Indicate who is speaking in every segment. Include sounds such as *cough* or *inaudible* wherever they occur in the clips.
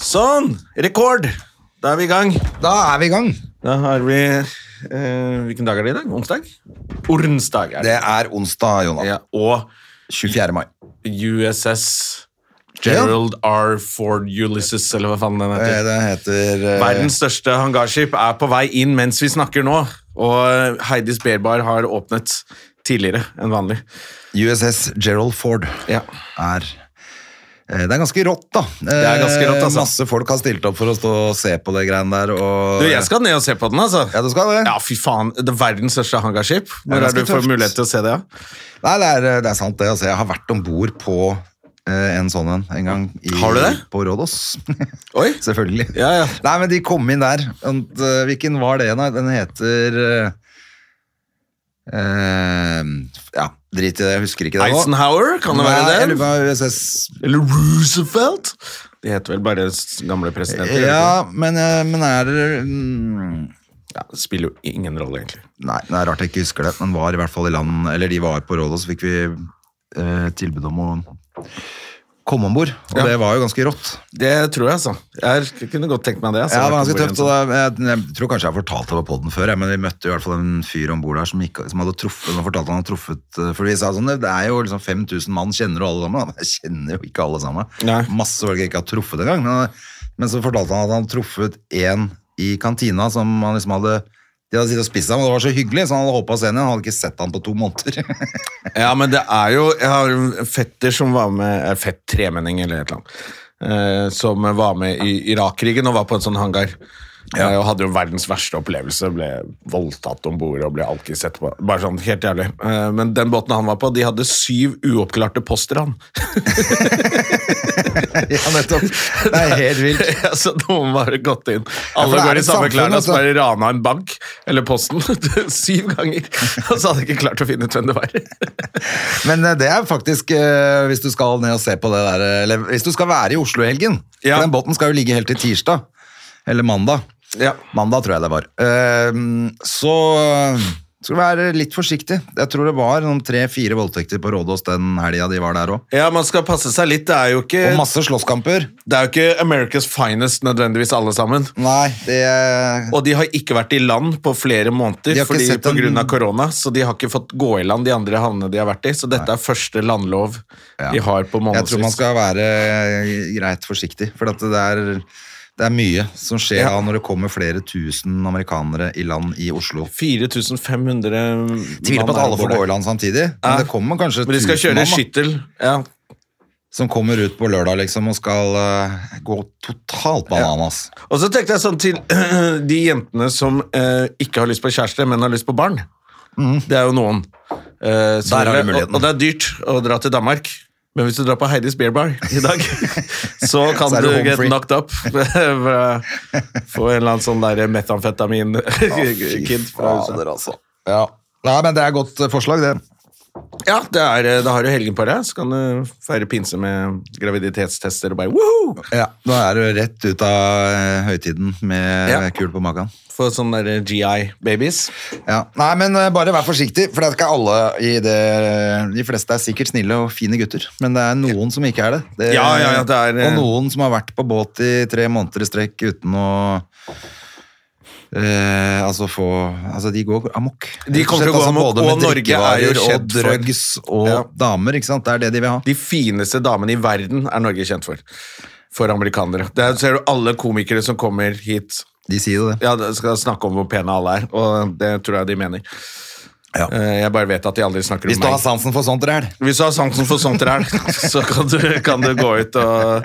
Speaker 1: Sånn! Rekord! Da er vi i gang.
Speaker 2: Da er vi i gang.
Speaker 1: Da har vi eh, Hvilken dag er det i dag? Onsdag? Ornsdag er det.
Speaker 2: Det er onsdag, Jonas.
Speaker 1: Ja, og
Speaker 2: 24. mai.
Speaker 1: USS Gerald R. Ford Ulysses, eller hva faen den
Speaker 2: Eh,
Speaker 1: heter.
Speaker 2: Det heter eh,
Speaker 1: Verdens største hangarskip er på vei inn mens vi snakker nå, og Heidis Berbar har åpnet tidligere enn vanlig.
Speaker 2: USS Gerald Ford.
Speaker 1: Ja.
Speaker 2: Er eh, det er ganske rått, da. Det
Speaker 1: er ganske rått, altså.
Speaker 2: Masse folk har stilt opp for å stå og se på det greiene der. Og...
Speaker 1: Du, jeg skal ned og se på den, altså.
Speaker 2: Ja, du skal det?
Speaker 1: Ja, fy faen. Det er verdens største hangarskip.
Speaker 2: Det er
Speaker 1: Når er
Speaker 2: ganske
Speaker 1: du får
Speaker 2: tøft.
Speaker 1: mulighet til å se det? Ja?
Speaker 2: Nei, det er, det er sant, det. Altså, jeg har vært om bord på eh, en sånn en en gang. I,
Speaker 1: Har du det?
Speaker 2: På Rådås.
Speaker 1: Oi.
Speaker 2: *laughs* Selvfølgelig.
Speaker 1: Ja, ja.
Speaker 2: Nei, men de kom inn der. Og, eh, hvilken var det, da? Den heter eh, eh, Ja, drit i det. Jeg husker ikke det nå.
Speaker 1: Eisenhower, kan det
Speaker 2: Nei,
Speaker 1: være
Speaker 2: jeg lurer
Speaker 1: det?
Speaker 2: på om USS
Speaker 1: Eller Roosevelt? De heter vel bare s- gamle presidenter. gjør de
Speaker 2: Ja, men, eh, men er det, mm,
Speaker 1: ikke det? ja, det spiller jo ingen rolle, egentlig.
Speaker 2: Nei, det er rart jeg ikke husker det. Men var i hvert fall i land, eller de var på råd, og så fikk vi eh, tilbud om å komme om bord. Og
Speaker 1: Ja.
Speaker 2: det var jo ganske rått.
Speaker 1: Det tror jeg, altså. Jeg kunne godt tenkt meg det. Altså.
Speaker 2: Ja, det var ganske
Speaker 1: Vært ombord i en
Speaker 2: tøft. Og
Speaker 1: sånn-
Speaker 2: da, jeg, jeg tror kanskje jeg har fortalt det på poden før, jeg, men vi møtte i hvert fall en fyr om bord der som, ikke, som hadde truffet som fortalte han hadde truffet eh, For vi sa sånn, det det er jo liksom 5000 mann, kjenner du alle sammen? Jeg kjenner jo ikke alle sammen.
Speaker 1: Nei.
Speaker 2: Masse folk jeg ikke har truffet engang. Men, men så fortalte han at han hadde truffet en i kantina som han liksom hadde de hadde sittet og spist ham, og det var så hyggelig, så han hadde håpet å se henne igjen. Han hadde ikke sett han på to måneder. *laughs*
Speaker 1: sånn- Ja, men det er jo Jeg har en fetter som var med er Fett tremenning eller et eller annet. eh, Som var med i Irak-krigen og var på en sånn hangar. Eh, Og hadde jo verdens verste opplevelse. Ble voldtatt om bord og ble alkis etterpå. Bare sånn helt jævlig. Eh, Men den båten han var på, de hadde syv uoppklarte poster, han.
Speaker 2: ja, nettopp. Det er helt vilt.
Speaker 1: *laughs* Ja, så noen bare gått inn. Alle
Speaker 2: for det er
Speaker 1: går i
Speaker 2: et
Speaker 1: samme
Speaker 2: samfunn,
Speaker 1: klærne og så
Speaker 2: altså.
Speaker 1: bare rana en bank eller posten *laughs* syv ganger. Og så hadde de ikke klart å finne ut hvem det var.
Speaker 2: *laughs* Men eh, det er faktisk, eh, hvis du skal ned og se på det der, eh, eller hvis du skal være i Oslo i helgen,
Speaker 1: Ja.
Speaker 2: for den båten skal jo ligge helt til tirsdag, eller mandag.
Speaker 1: Ja.
Speaker 2: Mandag tror jeg det var. Eh, Så eh, skal du være litt forsiktig. Jeg tror det var noen tre-fire voldtekter på Rådås den helgen de var der også.
Speaker 1: ja, man skal passe seg litt. Det er jo ikke,
Speaker 2: Og masse slåsskamper.
Speaker 1: det er jo ikke America's finest nødvendigvis alle sammen.
Speaker 2: Nei, det...
Speaker 1: Og de har ikke vært i land på flere måneder
Speaker 2: De har ikke
Speaker 1: fordi
Speaker 2: sett
Speaker 1: på
Speaker 2: en-
Speaker 1: grunn av korona, så de har ikke fått gå i land de andre havnene de har vært i. Så dette er første landlov
Speaker 2: Ja.
Speaker 1: de har på
Speaker 2: Jeg tror man
Speaker 1: månedsvis.
Speaker 2: skal være eh, greit forsiktig, for at det er... Det er mye som skjer
Speaker 1: Ja.
Speaker 2: da når det kommer flere tusen amerikanere i land i Oslo.
Speaker 1: 4500 mann
Speaker 2: Tviler på at
Speaker 1: er
Speaker 2: alle
Speaker 1: om
Speaker 2: får
Speaker 1: bord
Speaker 2: gå
Speaker 1: der.
Speaker 2: i land samtidig, men det kommer kanskje
Speaker 1: Men de skal
Speaker 2: tusen
Speaker 1: kjøre
Speaker 2: mann, da.
Speaker 1: skyttel. Ja,
Speaker 2: som kommer ut på lørdag liksom, og skal eh, gå totalt bananas.
Speaker 1: Og så tenkte jeg sånn til *clears throat* de jentene som eh, ikke har lyst på kjæreste, men har lyst på barn. Det er jo noen. Eh, som-
Speaker 2: Mm. Der har du
Speaker 1: og,
Speaker 2: muligheten.
Speaker 1: og det er dyrt å dra til Danmark. Men hvis du drar på Heidis Beer Bar i
Speaker 2: *laughs*
Speaker 1: dag, så kan
Speaker 2: Så er
Speaker 1: du
Speaker 2: du home
Speaker 1: get
Speaker 2: free.
Speaker 1: knocked up. *laughs* fra- Få en eller annen sånn der *laughs* metamfetamin-kid. fra huset.
Speaker 2: altså. Ja. Nei, men det er et godt eh, forslag, det.
Speaker 1: ja, det er, eh, da har du helgen på deg, så kan du feire pinse med graviditetstester og bare woohoo!
Speaker 2: Ja, Nå er du rett ut av eh, høytiden med
Speaker 1: Ja.
Speaker 2: kul på magen.
Speaker 1: Få sånne der GI-babies.
Speaker 2: Ja. Nei, men eh, bare vær forsiktig, for det er ikke alle i det De fleste er sikkert snille og fine gutter, men det er noen som ikke er det. det
Speaker 1: Ja, ja, ja, det er, eh,
Speaker 2: Og noen som har vært på båt i tre måneder i strekk uten å eh, altså få Altså, de går amok.
Speaker 1: De kommer til å gå
Speaker 2: Altså,
Speaker 1: amok,
Speaker 2: både med
Speaker 1: og Norge er jo
Speaker 2: drikkevarer
Speaker 1: kjent for-
Speaker 2: Og drugs og
Speaker 1: Ja.
Speaker 2: damer, ikke sant. Det er det de vil ha.
Speaker 1: De fineste damene i verden er Norge kjent for. For amerikanere. Der ser du alle komikere som kommer hit
Speaker 2: De sier jo det.
Speaker 1: ja, de skal snakke om hvor pene alle er, og det tror jeg de mener.
Speaker 2: Ja.
Speaker 1: Eh, Jeg bare vet at de aldri snakker
Speaker 2: Hvis
Speaker 1: om
Speaker 2: du
Speaker 1: meg.
Speaker 2: har sansen for sånt ræl.
Speaker 1: Hvis du har sansen for sånt ræl, *laughs* så kan du, kan du gå ut og,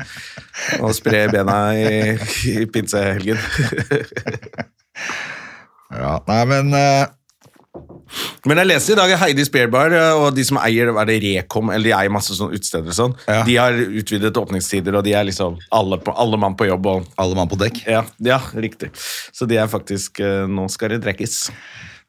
Speaker 1: og spre bena i, i pinsehelgen.
Speaker 2: Ja. Nei, men eh,
Speaker 1: *laughs* Men jeg leser i dag at Heidi Spearbar og de som eier er det Rekom, eller de eier masse sånne utesteder og sånn,
Speaker 2: Ja.
Speaker 1: de har utvidet åpningstider, og de er liksom alle, på, alle mann på jobb. Og,
Speaker 2: Alle mann på dekk.
Speaker 1: ja, ja, riktig. Så de er faktisk eh, Nå skal det drekkes.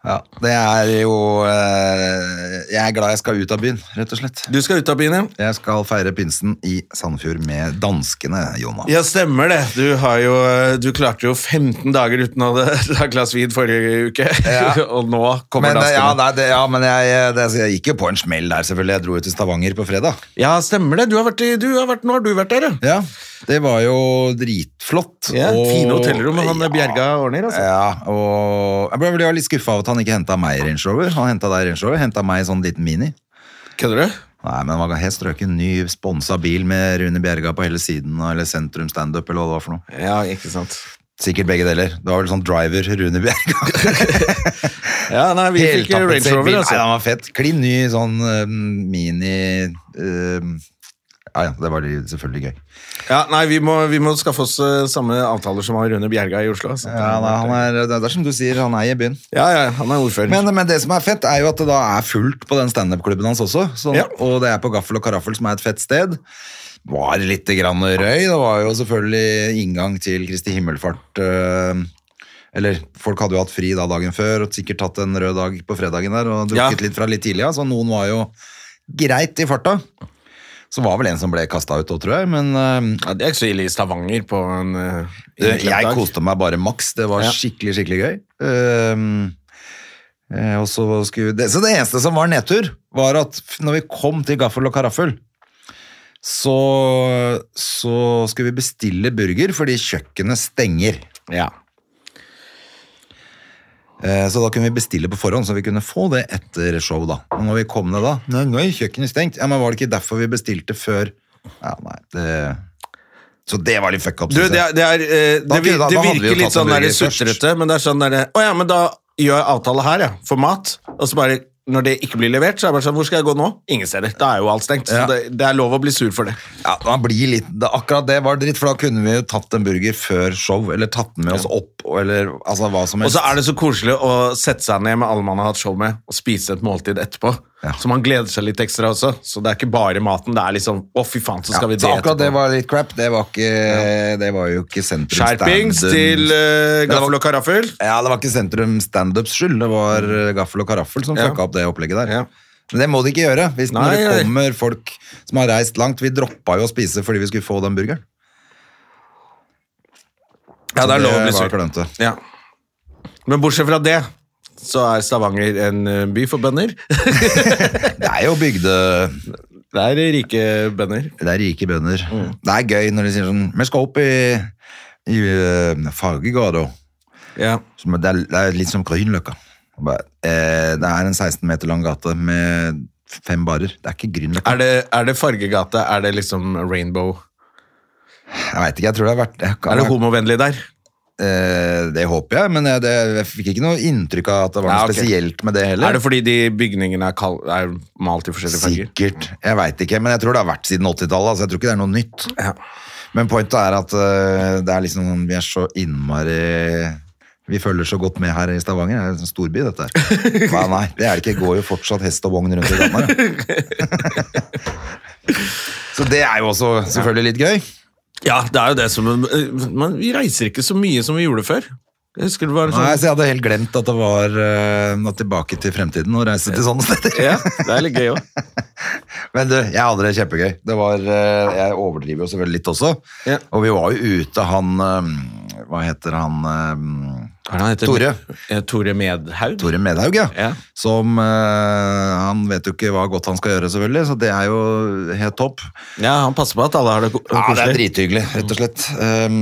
Speaker 2: Ja, det er jo eh, Jeg er glad jeg skal ut av byen, rett og slett.
Speaker 1: Du skal ut av byen, ja?
Speaker 2: Jeg skal feire pinsen i Sandefjord med danskene, Jonas.
Speaker 1: Ja, stemmer det. Du, har jo, eh, du klarte jo 15 dager uten å *laughs* ta et glass vin forrige uke, *laughs* og nå kommer
Speaker 2: Men, eh, ja,
Speaker 1: danskene.
Speaker 2: nei, det, ja, men jeg, eh, det, jeg gikk jo på en smell der, selvfølgelig. Jeg dro jo til Stavanger på fredag.
Speaker 1: Ja, stemmer det. Du har vært i, du har vært, nå har du vært der, ja.
Speaker 2: Ja, det var jo dritflott.
Speaker 1: Ja,
Speaker 2: og-
Speaker 1: Fine hotellrom han eh, Bjerga ordner, altså.
Speaker 2: Ja, og jeg ble vel litt skuffa av at han ikke henta meg i Range Rover. Han henta deg i Range Rover, henta meg i sånn liten mini.
Speaker 1: Kødder du?
Speaker 2: Nei, men han var helt strøken. Ny sponsa bil med Rune Bjerga på hele siden, eller Sentrum Standup, eller hva det var for noe.
Speaker 1: Ja, ikke sant.
Speaker 2: Sikkert begge deler. Det var vel sånn driver Rune
Speaker 1: *laughs*
Speaker 2: Bjerga.
Speaker 1: Ja, nei, vi fikk
Speaker 2: Heltappet
Speaker 1: Range
Speaker 2: bil.
Speaker 1: Rover,
Speaker 2: Nei,
Speaker 1: altså.
Speaker 2: den var fett. Klin ny sånn øhm, mini øhm, Ja ja, det var litt- selvfølgelig gøy.
Speaker 1: Ja, nei, vi må, vi må skaffe oss eh, samme avtaler som han Rune Bjerga i Oslo. altså.
Speaker 2: Ja, nei, han er, det er som du sier, han eier byen.
Speaker 1: ja, ja, han er ordfører.
Speaker 2: Men, men det som er fett, er jo at det da er fullt på den standup-klubben hans også. Sånn,
Speaker 1: Ja.
Speaker 2: Og det er på Gaffel og Karaffel, som er et fett sted. Var litt grann røy. Det var jo selvfølgelig inngang til Kristi himmelfart. øh, Eller folk hadde jo hatt fri da dagen før og sikkert tatt en rød dag på fredagen der og
Speaker 1: Ja.
Speaker 2: drukket litt fra litt tidlig, ja. så noen var jo greit i farta. Så var vel en som ble kasta ut òg, tror jeg. Men øh,
Speaker 1: ja, det er ikke så ille i Stavanger på en eh,
Speaker 2: det,
Speaker 1: inneklemt
Speaker 2: jeg
Speaker 1: dag.
Speaker 2: koste meg bare maks. Det var
Speaker 1: Ja.
Speaker 2: skikkelig, skikkelig gøy. Ehm, eh, og så, skulle, det, så det eneste som var nedtur, var at f- når vi kom til Gaffel og Karaffel, så, så skulle vi bestille burger fordi kjøkkenet stenger.
Speaker 1: Ja.
Speaker 2: Eh, Så da kunne vi bestille på forhånd, så vi kunne få det etter show. da. Og når vi kom ned da Nei, nå er kjøkkenet stengt. Ja, Men var det ikke derfor vi bestilte før Ja, nei, det... Så det var litt fuck up.
Speaker 1: Du,
Speaker 2: synes jeg.
Speaker 1: det, er, det, er, eh,
Speaker 2: Da
Speaker 1: det, vir-
Speaker 2: kunne- da
Speaker 1: det
Speaker 2: hadde vi jo
Speaker 1: virker litt
Speaker 2: tatt en
Speaker 1: sånn der
Speaker 2: burger først.
Speaker 1: sutrete, men det er sånn derre Å ja, men da gjør jeg avtale her, ja. For mat. Og så bare når det ikke blir levert, så er det bare sånn Hvor skal jeg gå nå? Ingen steder. Da er jo alt stengt.
Speaker 2: Ja.
Speaker 1: Så det, det er lov å bli sur for det.
Speaker 2: Ja, man blir litt, det, akkurat det var dritt, for da kunne vi jo tatt en burger før show, eller tatt den med oss opp, og- eller altså hva som
Speaker 1: Og
Speaker 2: helst.
Speaker 1: så er det så koselig å sette seg ned med alle man har hatt show med, og spise et måltid etterpå.
Speaker 2: Ja.
Speaker 1: Så man gleder seg litt ekstra også. Så det er ikke bare maten. Det er liksom Å, fy faen, så skal vi
Speaker 2: ja,
Speaker 1: det
Speaker 2: så akkurat det
Speaker 1: etterpå.
Speaker 2: var litt crap, det var, ikke, det var jo ikke sentrum
Speaker 1: Skjerpings
Speaker 2: stand-
Speaker 1: til uh,
Speaker 2: var-
Speaker 1: gaffel og karaffel.
Speaker 2: Ja, det var ikke sentrum standups skyld, det var eh, gaffel og karaffel som
Speaker 1: Mm. Ja.
Speaker 2: fucka opp det opplegget der.
Speaker 1: Ja.
Speaker 2: Men det må de ikke gjøre, hvis
Speaker 1: Nei,
Speaker 2: når
Speaker 1: nei.
Speaker 2: det kommer folk som har reist langt, vi droppa jo å spise fordi vi skulle få den burgeren.
Speaker 1: Ja, det
Speaker 2: Så
Speaker 1: er lov å bli
Speaker 2: var
Speaker 1: sur.
Speaker 2: klønete.
Speaker 1: Ja. Men bortsett fra det, så er Stavanger en eh, by for bønder.
Speaker 2: Det er jo bygde...
Speaker 1: *laughs* Det er rike bønder.
Speaker 2: Det er rike bønder.
Speaker 1: Mm.
Speaker 2: Det er gøy når de sier sånn Vi skal opp i, i eh, Fargegata.
Speaker 1: Ja.
Speaker 2: Som er- Det, er- det er litt som Grünerløkka. Og bare, Eh, det er en 16 meter lang gate med fem barer. Det er ikke Grünerløkka.
Speaker 1: Er, det, er det fargegate? Er det liksom rainbow?
Speaker 2: Jeg veit ikke, jeg tror det har vært jeg kan
Speaker 1: Er det
Speaker 2: ha-
Speaker 1: homovennlig der?
Speaker 2: eh, Det håper jeg, men jeg, det, jeg fikk ikke noe inntrykk av at det var noe
Speaker 1: Ja, ok.
Speaker 2: spesielt med det heller.
Speaker 1: Er det fordi de bygningene er, kal- er malt i forskjellige farger?
Speaker 2: Sikkert. Jeg veit ikke, men jeg tror det har vært siden 80-tallet. Altså, jeg tror ikke det er noe nytt. Men pointet er at øh, det er liksom sånn, vi er så innmari Vi følger så godt med her i Stavanger. Det er en storby,
Speaker 1: *laughs*
Speaker 2: dette her. Nei, nei, det er det ikke. Det går jo fortsatt hest og vogn rundt i
Speaker 1: *laughs*
Speaker 2: Danmark. så det er jo også selvfølgelig litt gøy.
Speaker 1: Ja, det er jo det som eh, Men vi reiser ikke så mye som vi gjorde før. Jeg husker det var
Speaker 2: Nei,
Speaker 1: sånn
Speaker 2: så Jeg hadde helt glemt at det var øh, at tilbake til fremtiden og reise til sånne steder.
Speaker 1: ja, det er litt gøy òg.
Speaker 2: Men du, jeg hadde det kjempegøy. Det var, eh, jeg overdriver jo selvfølgelig litt også.
Speaker 1: Ja.
Speaker 2: Og vi var jo ute, han eh, Hva heter han eh, Tore.
Speaker 1: Eh, Tore Medhaug.
Speaker 2: Tore Medhaug, ja.
Speaker 1: Ja.
Speaker 2: Som eh, Han vet jo ikke hva godt han skal gjøre, selvfølgelig, så det er jo helt topp.
Speaker 1: Ja, han passer på at alle har det ko-
Speaker 2: Ja, det er
Speaker 1: koselig.
Speaker 2: drithyggelig, rett og slett. Um,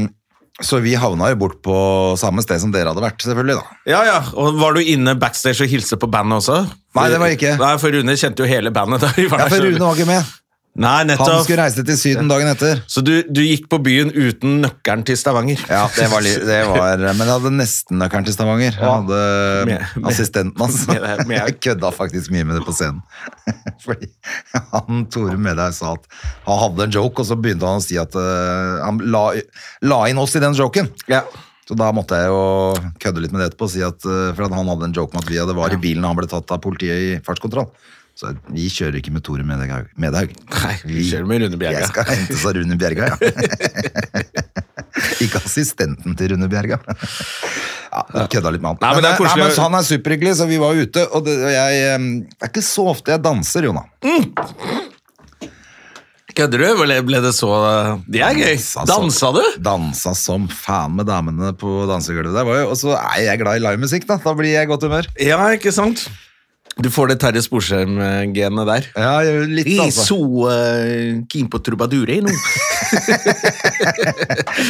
Speaker 2: så vi havna jo bort på samme sted som dere hadde vært, selvfølgelig, da.
Speaker 1: Ja, ja. Og var du inne backstage og hilste på bandet også?
Speaker 2: Nei, det var jeg ikke.
Speaker 1: Nei, for Rune kjente jo hele bandet da vi var
Speaker 2: Ja, for Rune var ikke med.
Speaker 1: Nei,
Speaker 2: Han
Speaker 1: nettopp.
Speaker 2: skulle reise til Syden dagen etter.
Speaker 1: Så du, du gikk på byen uten nøkkelen til Stavanger?
Speaker 2: Ja, det var, li- det var Men jeg hadde nesten nøkkelen til Stavanger. Jeg hadde
Speaker 1: Med- med-
Speaker 2: assistenten hans.
Speaker 1: med deg- med-
Speaker 2: Jeg kødda faktisk mye med det på scenen. *laughs* Fordi han Tore Medhaug sa at han hadde en joke, og så begynte han å si at eh, han la, la inn oss i den joken.
Speaker 1: Ja.
Speaker 2: Så da måtte jeg jo kødde litt med det etterpå, og si at, eh, for at han hadde en joke om at vi hadde var i bilen da han ble tatt av politiet i fartskontroll. Så jeg, vi kjører ikke med Tore Medhaug. Medhaug.
Speaker 1: *laughs* Nei, vi kjører med Rune Bjerga.
Speaker 2: Jeg skal hentes av Rune Bjerga,
Speaker 1: *laughs*
Speaker 2: ja. ikke assistenten til Rune Bjerga. Ja, jeg kødda litt med han.
Speaker 1: Nei, men det er
Speaker 2: eh,
Speaker 1: koselig.
Speaker 2: nei, men han er superhyggelig, så vi var ute, og, det, og jeg eh, Det er ikke så ofte jeg danser, Jona.
Speaker 1: Kødder du? Ble, ble det så eh, Det er gøy.
Speaker 2: Dansa som-
Speaker 1: Dansa du?
Speaker 2: Dansa som faen med damene på dansegulvet. Der var jo, og så er jeg glad i livemusikk, da. Da blir jeg i godt humør.
Speaker 1: Ja, ikke sant? Du får det Terje Sporsheim-genet der.
Speaker 2: Ja, jeg gjør litt,
Speaker 1: Vi
Speaker 2: altså.
Speaker 1: så eh, keen på trubadure *laughs* nå.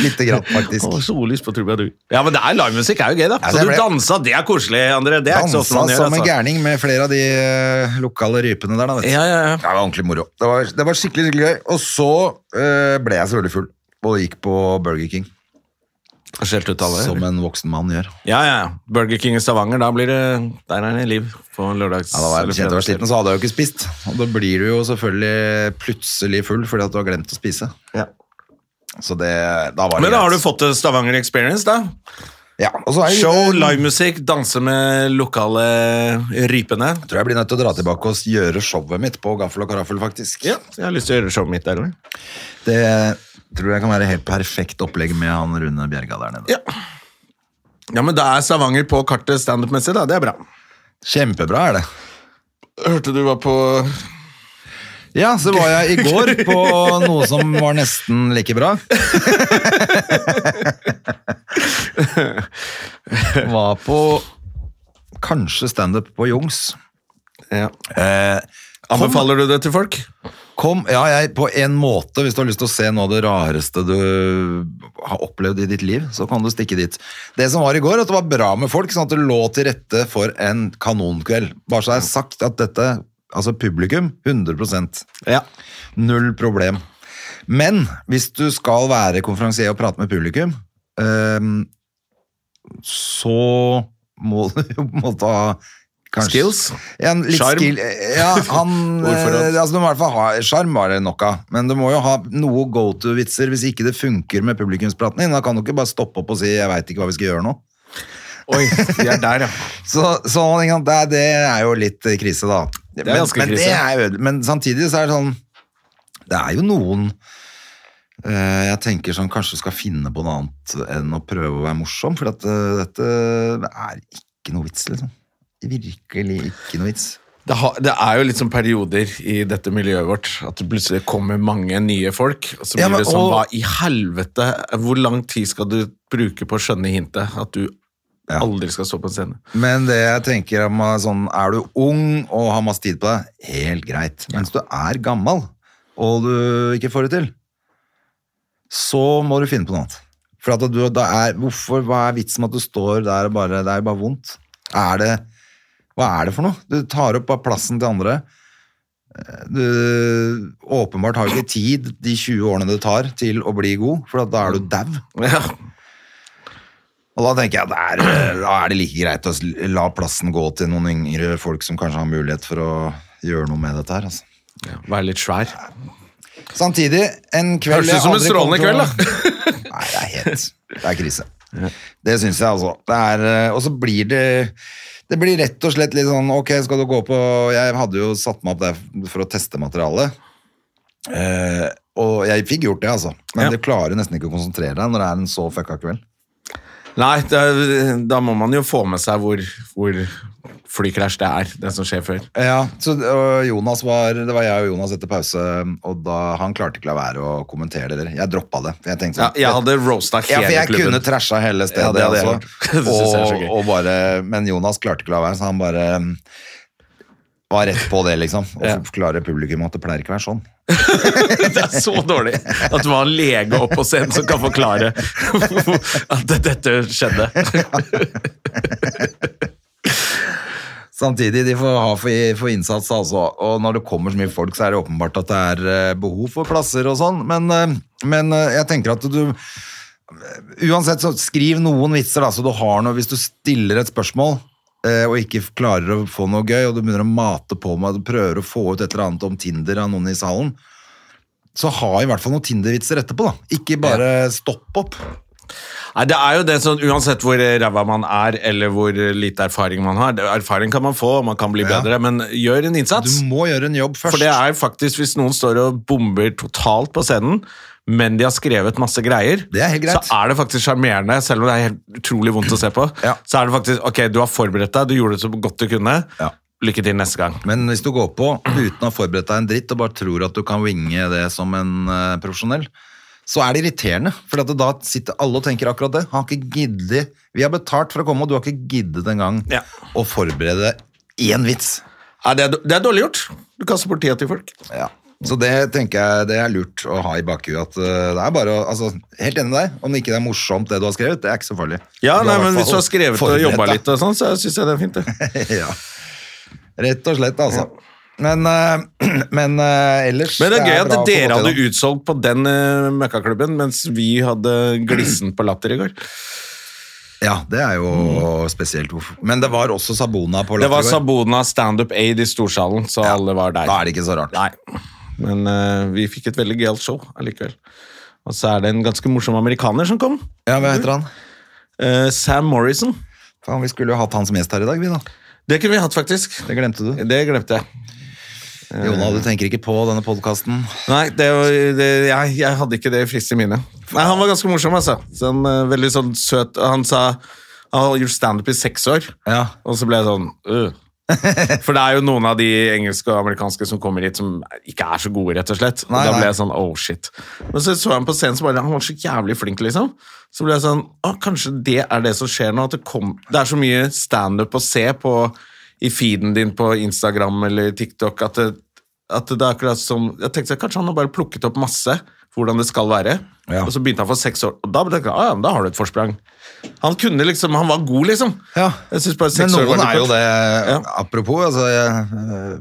Speaker 2: Lite grann, faktisk.
Speaker 1: Og sollyst på trubadur. Ja, men det er livemusikk er jo gøy, da.
Speaker 2: Ja,
Speaker 1: så
Speaker 2: det
Speaker 1: du
Speaker 2: ble-
Speaker 1: dansa, det er koselig, André. Det er ikke så ofte
Speaker 2: Dansa
Speaker 1: man gjør,
Speaker 2: som en
Speaker 1: altså.
Speaker 2: gærning med flere av de eh, lokale rypene der, da, vet du.
Speaker 1: Ja, ja, ja.
Speaker 2: Det var ordentlig moro. Det var, det var skikkelig, skikkelig gøy. Og så eh, ble jeg selvfølgelig full, og gikk på Burger King,
Speaker 1: Skjelt ut alle.
Speaker 2: som en voksen mann gjør.
Speaker 1: Ja, ja. Burger King i Stavanger, da blir det Der er det liv på lørdags...
Speaker 2: Ja, da var jeg
Speaker 1: eller
Speaker 2: bekjent jeg var
Speaker 1: fredags-
Speaker 2: sliten, så hadde jeg jo ikke spist. Og da blir du jo selvfølgelig plutselig full fordi at du har glemt å spise.
Speaker 1: Ja.
Speaker 2: Så det, da var det
Speaker 1: Men da har du
Speaker 2: greit.
Speaker 1: fått det Stavanger Experience, da.
Speaker 2: ja, og så er jeg-
Speaker 1: Show, livemusikk, danse med lokale rypene.
Speaker 2: tror jeg blir nødt til å dra tilbake og gjøre showet mitt på gaffel og karaffel, faktisk.
Speaker 1: Ja, jeg har lyst til å gjøre showet mitt der. eller?
Speaker 2: Det tror jeg kan være helt perfekt opplegg med han Rune Bjerga der
Speaker 1: Ja.
Speaker 2: nede.
Speaker 1: Ja, men da er Stavanger på kartet standup-messig, da. Det er bra.
Speaker 2: Kjempebra er det.
Speaker 1: Hørte du var på
Speaker 2: Ja, så var jeg i går på noe som var nesten like bra. Var på kanskje standup på Jungs.
Speaker 1: ja.
Speaker 2: Eh,
Speaker 1: Anbefaler du det til folk?
Speaker 2: Kom, ja, jeg, på en måte, hvis du har lyst til å se noe av det rareste du har opplevd i ditt liv, så kan du stikke dit. Det som var i går, at det var bra med folk, sånn at det lå til rette for en kanonkveld. Bare så det er sagt at dette, altså publikum, 100
Speaker 1: Ja.
Speaker 2: Null problem. Men hvis du skal være konferansier og prate med publikum, ehm, så må *laughs* du jo på en måte ha kanskje-
Speaker 1: Skills?
Speaker 2: Ja, en litt
Speaker 1: Charm?
Speaker 2: skill- Ja, han
Speaker 1: Ordforråd.
Speaker 2: eh, altså, du må i hvert fall ha Sjarm var det nok av, men du må jo ha noe go to-vitser hvis ikke det funker med publikumspraten din. Da kan du ikke bare stoppe opp og si 'jeg veit ikke hva vi skal gjøre nå'.
Speaker 1: Oi, vi er der, ja.
Speaker 2: Så, så ikke sant, det, er, det er jo litt eh, krise, da.
Speaker 1: er ganske
Speaker 2: men, men
Speaker 1: krise.
Speaker 2: Det er, jo øde- men samtidig så er det sånn Det er jo noen eh, jeg tenker som kanskje skal finne på noe annet enn å prøve å være morsom, for at, eh, dette er ikke noe vits, liksom. Virkelig ikke noe vits.
Speaker 1: Det, har, det er jo litt sånn perioder i dette miljøet vårt at det plutselig kommer mange nye folk. Og så blir
Speaker 2: Ja, men-
Speaker 1: det sånn,
Speaker 2: og-
Speaker 1: hva i helvete? Hvor lang tid skal du bruke på å skjønne hintet? At du
Speaker 2: Ja.
Speaker 1: aldri skal stå på en scene? *laughs*
Speaker 2: Men det jeg tenker om eh, sånn, er du ung og har masse tid på deg, helt greit. Mens du er gammel og du ikke får det til, så må du finne på noe annet. For at du, da er, hvorfor, hva er vitsen med at du står der og bare, det er jo bare vondt? Er det, hva er det for noe? Du tar opp bare plassen til andre. Du åpenbart har ikke tid de 20 årene det tar til å bli god, for at da er du dau.
Speaker 1: Ja.
Speaker 2: Og da tenker jeg at det er, *clears throat* da er det like greit å s- la plassen gå til noen yngre folk som kanskje har mulighet for å gjøre noe med dette her. Altså.
Speaker 1: Være litt svær.
Speaker 2: Samtidig, en
Speaker 1: Høres
Speaker 2: kveld
Speaker 1: ut
Speaker 2: jeg
Speaker 1: som en
Speaker 2: aldri
Speaker 1: strålende
Speaker 2: kommer til å-
Speaker 1: kveld,
Speaker 2: *laughs* Nei, det er helt Det er krise. Det syns jeg, altså. Det er, eh, og så blir det Det blir rett og slett litt sånn Ok, skal du gå på Jeg hadde jo satt meg opp der for å teste materialet. Eh, og jeg fikk gjort det, altså. Men
Speaker 1: Ja.
Speaker 2: du klarer nesten ikke å konsentrere deg når det er en så fucka kveld.
Speaker 1: Nei, da, da må man jo få med seg hvor, hvor flykrasj det er, det som skjer før.
Speaker 2: Ja, så og Jonas var, det var jeg og Jonas etter pause, og da, han klarte ikke la være å kommentere det. eller? Jeg droppa det. for Jeg tenkte
Speaker 1: Ja,
Speaker 2: sånn,
Speaker 1: jeg hadde roasta
Speaker 2: ja,
Speaker 1: hele
Speaker 2: for jeg
Speaker 1: klubben. *laughs*
Speaker 2: kunne trasha hele stedet,
Speaker 1: Ja, det hadde jeg
Speaker 2: altså.
Speaker 1: gjort. *laughs* Det synes jeg er så gøy.
Speaker 2: og, og bare, men Jonas klarte ikke la være, så han bare mm, var rett på det, liksom. Og
Speaker 1: Ja.
Speaker 2: forklarer publikum at det pleier ikke å være sånn.
Speaker 1: Det er så dårlig at det var en lege opp på scenen som kan forklare *laughs* at dette skjedde.
Speaker 2: Samtidig, de får ha for, for innsats, altså. Og når det kommer så mye folk, så er det åpenbart at det er eh, behov for plasser og sånn. Men, eh, men eh, jeg tenker at du Uansett, så skriv noen vitser, da, så du har noe Hvis du stiller et spørsmål eh, og ikke klarer å få noe gøy, og du begynner å mate på med at du prøver å få ut et eller annet om Tinder av noen i salen, så ha i hvert fall noen Tinder-vitser etterpå, da. Ikke bare stopp opp.
Speaker 1: Nei, det er jo det sånn, Uansett hvor eh, ræva man er, eller hvor eh, lite erfaring man har det- Erfaring kan man få, og man kan bli
Speaker 2: Ja.
Speaker 1: bedre, men gjør en innsats.
Speaker 2: Du må gjøre en jobb først.
Speaker 1: For det er faktisk, hvis noen står og bomber totalt på scenen, men de har skrevet masse greier,
Speaker 2: Det er helt greit.
Speaker 1: så er det faktisk sjarmerende, selv om det er helt utrolig vondt å se på.
Speaker 2: Ja.
Speaker 1: Så er det faktisk Ok, du har forberedt deg, du gjorde det så godt du kunne.
Speaker 2: Ja.
Speaker 1: Lykke til neste gang.
Speaker 2: Men hvis du går på uten å ha forberedt deg en dritt, og bare tror at du kan winge det som en eh, profesjonell, så er det irriterende. For at da sitter alle og tenker akkurat det. Han har ikke giddet. Vi har betalt for å komme, og du har ikke giddet engang
Speaker 1: Ja.
Speaker 2: å forberede én vits.
Speaker 1: Ja, det, er, det er dårlig gjort. Du kaster bort tida til folk.
Speaker 2: Ja. Så det tenker jeg det er lurt å ha i bakhuet. At eh, det er bare å altså, Helt enig med deg. Om det ikke er morsomt, det du har skrevet, det er ikke så farlig.
Speaker 1: Ja,
Speaker 2: Du
Speaker 1: nei,
Speaker 2: i hvert
Speaker 1: men Hvis du
Speaker 2: fall
Speaker 1: har skrevet og
Speaker 2: forberedt
Speaker 1: jobba
Speaker 2: deg.
Speaker 1: litt, og sånn, så syns jeg det er fint. det.
Speaker 2: *laughs* ja. Rett og slett, altså. Men, eh, *clears throat* men eh, ellers
Speaker 1: Men det er gøy at
Speaker 2: bra å få
Speaker 1: dere
Speaker 2: til det.
Speaker 1: hadde utsolgt på den eh, møkkaklubben, mens vi hadde glissent på latter i går.
Speaker 2: Ja, det er jo spesielt. hvorfor- Men det var også Sabona på
Speaker 1: Det var
Speaker 2: Lattergård.
Speaker 1: Sabona Standup Aid i Storsalen, så alle var der.
Speaker 2: Da er det ikke så rart.
Speaker 1: Nei. Men eh, vi fikk et veldig gøyalt show allikevel. Og så er det en ganske morsom amerikaner som kom.
Speaker 2: Ja, Hva heter han?
Speaker 1: Eh, Sam Morrison.
Speaker 2: Faen, vi skulle jo hatt han som gjest her i dag, vi da.
Speaker 1: Det kunne vi hatt, faktisk.
Speaker 2: Det glemte du.
Speaker 1: Det glemte jeg. Eh,
Speaker 2: Jona, du tenker ikke på denne podkasten.
Speaker 1: Nei, det, var- det, jeg, jeg hadde ikke det i friskt i minne. Nei, han var ganske morsom, altså. Sånn, eh, veldig sånn søt. og Han sa han har gjort standup i seks år,
Speaker 2: Ja.
Speaker 1: og så ble jeg sånn
Speaker 2: *laughs*
Speaker 1: øh. For det er jo noen av de engelske og amerikanske som kommer hit, som ikke er så gode, rett og slett. Og
Speaker 2: Nei,
Speaker 1: da
Speaker 2: nei.
Speaker 1: ble jeg sånn oh shit. Men så så jeg ham på scenen, så bare Han var så jævlig flink, liksom. Så ble jeg sånn Å, kanskje det er det som skjer nå? At det, kom, det er så mye standup å se på i feeden din på Instagram eller TikTok at det, at det er akkurat som Jeg tenkte kanskje han har bare plukket opp masse hvordan det skal være.
Speaker 2: Ja.
Speaker 1: Og så begynte han for seks år, og da ble jeg, ah, ja, men da har du et forsprang. Han kunne liksom, han var god, liksom.
Speaker 2: Ja.
Speaker 1: Jeg synes bare
Speaker 2: Men
Speaker 1: seks år var litt
Speaker 2: noen er jo
Speaker 1: kort.
Speaker 2: det
Speaker 1: Ja.
Speaker 2: Apropos, altså jeg, eh,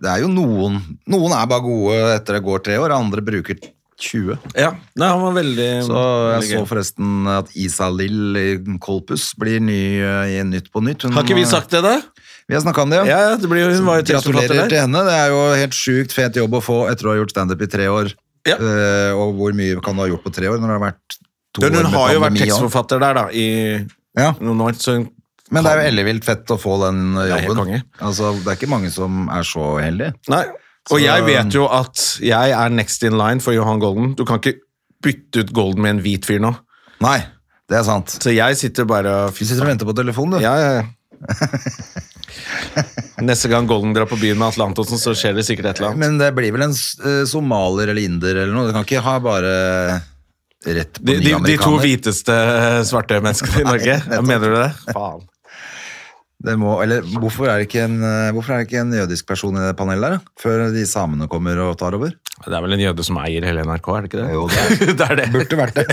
Speaker 2: Det er jo noen Noen er bare gode etter det går tre år, andre bruker 20.
Speaker 1: Ja, Nei, han var veldig
Speaker 2: Så jeg
Speaker 1: veldig
Speaker 2: så
Speaker 1: gøy.
Speaker 2: forresten at Isalill i Kolpus blir ny eh, i Nytt på Nytt. Hun- eh,
Speaker 1: Har ikke vi sagt det, da?
Speaker 2: Vi har snakka om det,
Speaker 1: Ja, ja det blir, jo- hun var jo tekstforfatter
Speaker 2: Gratulerer til
Speaker 1: der.
Speaker 2: henne. Det er jo helt sjukt fet jobb å få etter å ha gjort standup i tre år.
Speaker 1: Ja.
Speaker 2: Eh, og hvor mye kan du ha gjort på tre år når det har vært to
Speaker 1: Hun,
Speaker 2: år
Speaker 1: hun
Speaker 2: med
Speaker 1: har jo vært
Speaker 2: pandemi også?
Speaker 1: tekstforfatter der, da, i
Speaker 2: Ja.
Speaker 1: noen år. Så hun,
Speaker 2: Men det er jo ellevilt fett å få den eh,
Speaker 1: Det er helt
Speaker 2: jobben.
Speaker 1: konge.
Speaker 2: altså, det er ikke mange som er så heldige.
Speaker 1: nei. Og
Speaker 2: Så-
Speaker 1: jeg vet jo at jeg er next in line for Johan Golden. Du kan ikke bytte ut Golden med en hvit fyr nå.
Speaker 2: Nei, det er sant.
Speaker 1: Så jeg sitter bare og
Speaker 2: Du sitter og venter på telefonen, du.
Speaker 1: Ja, ja,
Speaker 2: *laughs*
Speaker 1: ja. Neste gang Golden drar på byen med Atle Antonsen, så skjer det sikkert et eller annet.
Speaker 2: Men det blir vel en s- eh, somalier eller inder eller noe. Du kan ikke ha bare rett på
Speaker 1: De,
Speaker 2: ny
Speaker 1: de, de to
Speaker 2: amerikaner.
Speaker 1: hviteste svarte menneskene i Norge. Mener du det? Faen.
Speaker 2: Det må, eller hvorfor er, det ikke en, eh, hvorfor er det ikke en jødisk person i det panelet der, da? før de samene kommer og tar over?
Speaker 1: Det er vel en jøde som eier hele NRK, er det ikke det?
Speaker 2: Jo, det
Speaker 1: *laughs* det er det.
Speaker 2: Burde vært det.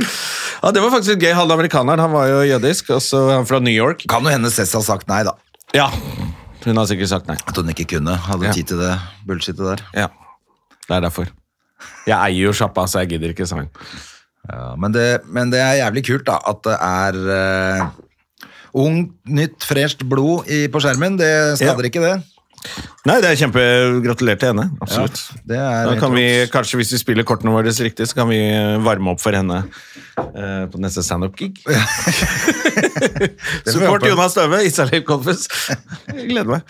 Speaker 1: *laughs* Ja, det var faktisk litt gøy. Han amerikaneren han var jo jødisk, og så han fra New York.
Speaker 2: *laughs* Kan jo hende Cess har sagt nei, da.
Speaker 1: Ja, Hun har sikkert sagt nei.
Speaker 2: At hun ikke kunne. Hadde
Speaker 1: Ja.
Speaker 2: tid til det bullshitet der.
Speaker 1: Ja, Det er derfor. Jeg eier jo sjappa, så jeg gidder ikke sang.
Speaker 2: Ja, men, det, men det er jævlig kult, da. At det er eh, ungt, nytt, fresht blod i, på skjermen. Det skader
Speaker 1: Ja.
Speaker 2: ikke, det.
Speaker 1: Nei, det er kjempe... Gratulerer til henne. Absolutt.
Speaker 2: Det
Speaker 1: Da
Speaker 2: er helt
Speaker 1: kan vi,
Speaker 2: rått.
Speaker 1: kanskje Hvis vi spiller kortene våre riktig, så kan vi eh, varme opp for henne eh, på neste standup-gig.
Speaker 2: *laughs* får vi
Speaker 1: Support
Speaker 2: håpe.
Speaker 1: Jonas Støve, Isalill
Speaker 2: *laughs*
Speaker 1: Kolfus. Jeg gleder meg.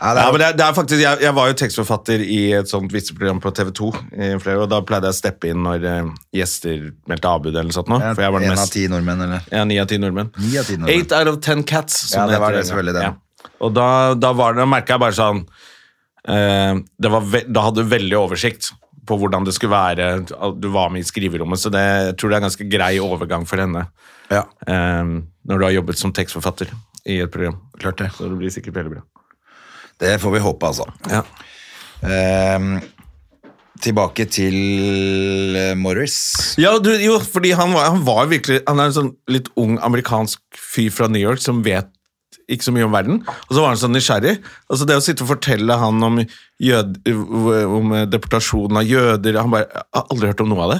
Speaker 2: Ja, det
Speaker 1: Ja, men det,
Speaker 2: er,
Speaker 1: er- det er faktisk, jeg, jeg var jo tekstforfatter i et sånt vitseprogram på TV 2 i flere år, og da pleide jeg å steppe inn når eh, gjester meldte avbud eller noe sånt. Nå, for jeg var den
Speaker 2: en av
Speaker 1: mest...
Speaker 2: ti nordmenn, eller?
Speaker 1: Ja, ni av ti nordmenn.
Speaker 2: Ni av ti nordmenn.
Speaker 1: Eight out of ten cats. som
Speaker 2: Ja, det var
Speaker 1: heter
Speaker 2: det, selvfølgelig, det.
Speaker 1: Og da, da, var det- da merket jeg bare sånn eh, det var ve Da hadde du veldig oversikt på hvordan det skulle være. Du var med i skriverommet, så det, jeg tror det er en ganske grei overgang for henne
Speaker 2: Ja.
Speaker 1: eh, når du har jobbet som tekstforfatter i et program.
Speaker 2: Klart det.
Speaker 1: Så det blir sikkert veldig bra.
Speaker 2: Det får vi håpe, altså.
Speaker 1: Ja.
Speaker 2: Ehm, tilbake til eh, Morris.
Speaker 1: Ja, du, jo, fordi han var, han var virkelig Han er en sånn litt ung amerikansk fyr fra New York som vet ikke så mye om verden. Og så var han sånn nysgjerrig. Altså Det å sitte og fortelle han om, jød, om deportasjonen av jøder Han bare jeg har aldri hørt om noe av det.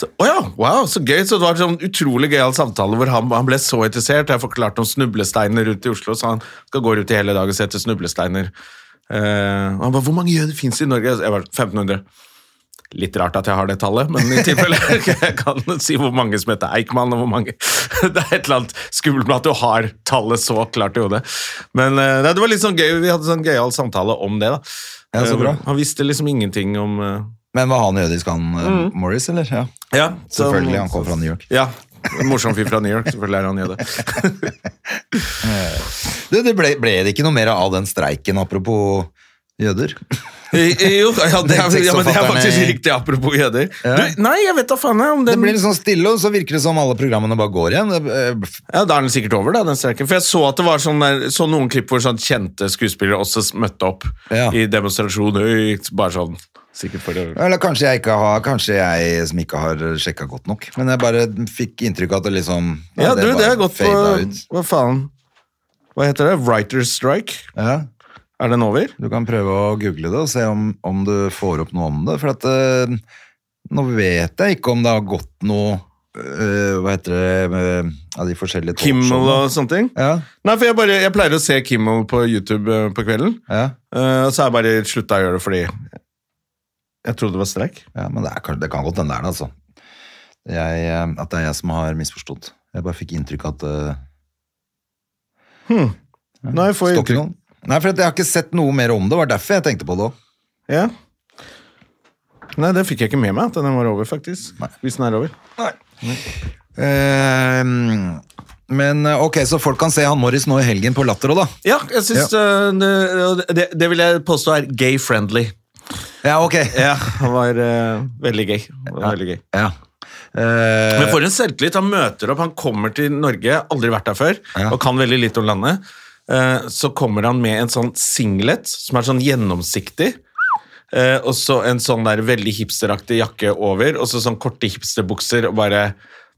Speaker 1: Så, å ja, wow, så gøy. Så det var en sånn utrolig gøyal samtale hvor han, han ble så interessert. Jeg forklarte om snublesteiner rundt i Oslo, så han skal gå rundt i hele dag og se etter snublesteiner. Eh, og han bare 'Hvor mange jøder fins i Norge?' Jeg var 1500. Litt rart at jeg har det tallet, men i *laughs* tilfelle jeg kan si hvor mange som heter Eichmann, og hvor mange *laughs* Det er et eller annet skummelt med at du har tallet så klart i hodet. Men eh, nei, det var litt sånn gøy, vi hadde sånn gøyal samtale om det, da.
Speaker 2: Ja, så bra.
Speaker 1: Han visste liksom ingenting om eh,
Speaker 2: Men var han jødisk, han
Speaker 1: Mm.
Speaker 2: eh, Morris, eller? Ja.
Speaker 1: Ja, så- um,
Speaker 2: Selvfølgelig, han kom fra New York.
Speaker 1: Ja. En morsom fyr fra New York, selvfølgelig er han jøde. *laughs*
Speaker 2: Du, det ble, ble det ikke noe mer av den streiken, apropos
Speaker 1: *laughs*
Speaker 2: jøder?
Speaker 1: Jo, ja, det er, ja, men det er
Speaker 2: Tekstforfatterne-
Speaker 1: faktisk riktig, apropos jøder.
Speaker 2: Ja.
Speaker 1: Du, nei, jeg vet da faen jeg om
Speaker 2: Det
Speaker 1: den
Speaker 2: blir litt sånn stille, og så virker det som alle programmene bare går igjen. Det, eh,
Speaker 1: Ja, Da er den sikkert over, da, den streiken. For jeg så at det var sånn der, så noen klipp hvor sånn kjente skuespillere også s- møtte opp
Speaker 2: Ja.
Speaker 1: i demonstrasjoner. Bare sånn Sikkert for å
Speaker 2: Eller kanskje jeg, ikke har, kanskje jeg som ikke har sjekka godt nok. Men jeg bare fikk inntrykk av at det liksom nei,
Speaker 1: Ja, du, det
Speaker 2: bare
Speaker 1: er godt på
Speaker 2: fada ut.
Speaker 1: Hva faen? Hva heter det? Writer's strike?
Speaker 2: Ja,
Speaker 1: Er den over?
Speaker 2: du kan prøve å google det og se om, om du får opp noe om det. For at eh, nå vet jeg ikke om det har gått noe eh, Hva heter det med, av de forskjellige
Speaker 1: Kimmel
Speaker 2: talkshowene.
Speaker 1: og sånne ting?
Speaker 2: Ja,
Speaker 1: Nei, for jeg, bare, jeg pleier å se Kimmel på YouTube eh, på kvelden.
Speaker 2: ja,
Speaker 1: eh, Og så har jeg bare slutta å gjøre det fordi jeg trodde det var streik.
Speaker 2: ja, men det, er, kan- det kan godt hende det er det, altså. Jeg, eh, at det er jeg som har misforstått. Jeg bare fikk inntrykk av at eh,
Speaker 1: Nei, får jeg
Speaker 2: Står ikke noen. Nei, for at jeg har ikke sett noe mer om det. Det var derfor jeg tenkte på det òg.
Speaker 1: Ja. Nei, det fikk jeg ikke med meg, at den var over, faktisk. Hvis den er over.
Speaker 2: Eh, men eh, ok, så folk kan se han Morris nå i helgen på Latter òg, da.
Speaker 1: Ja, jeg synes øh, det- det, det vil jeg påstå er gay-friendly. *laughs*
Speaker 2: Ja, ok.
Speaker 1: Ja, han var øh, veldig gay. Han var veldig gay.
Speaker 2: Ja. Eh,
Speaker 1: Men for en selvtillit. Han møter opp, han kommer til Norge, aldri vært der før,
Speaker 2: Ja.
Speaker 1: og kan veldig lite om landet. Eh, Så kommer han med en sånn singlet, som er sånn gjennomsiktig. eh, Og så en sånn der veldig hipsteraktig jakke over, og så sånn korte hipsterbukser og bare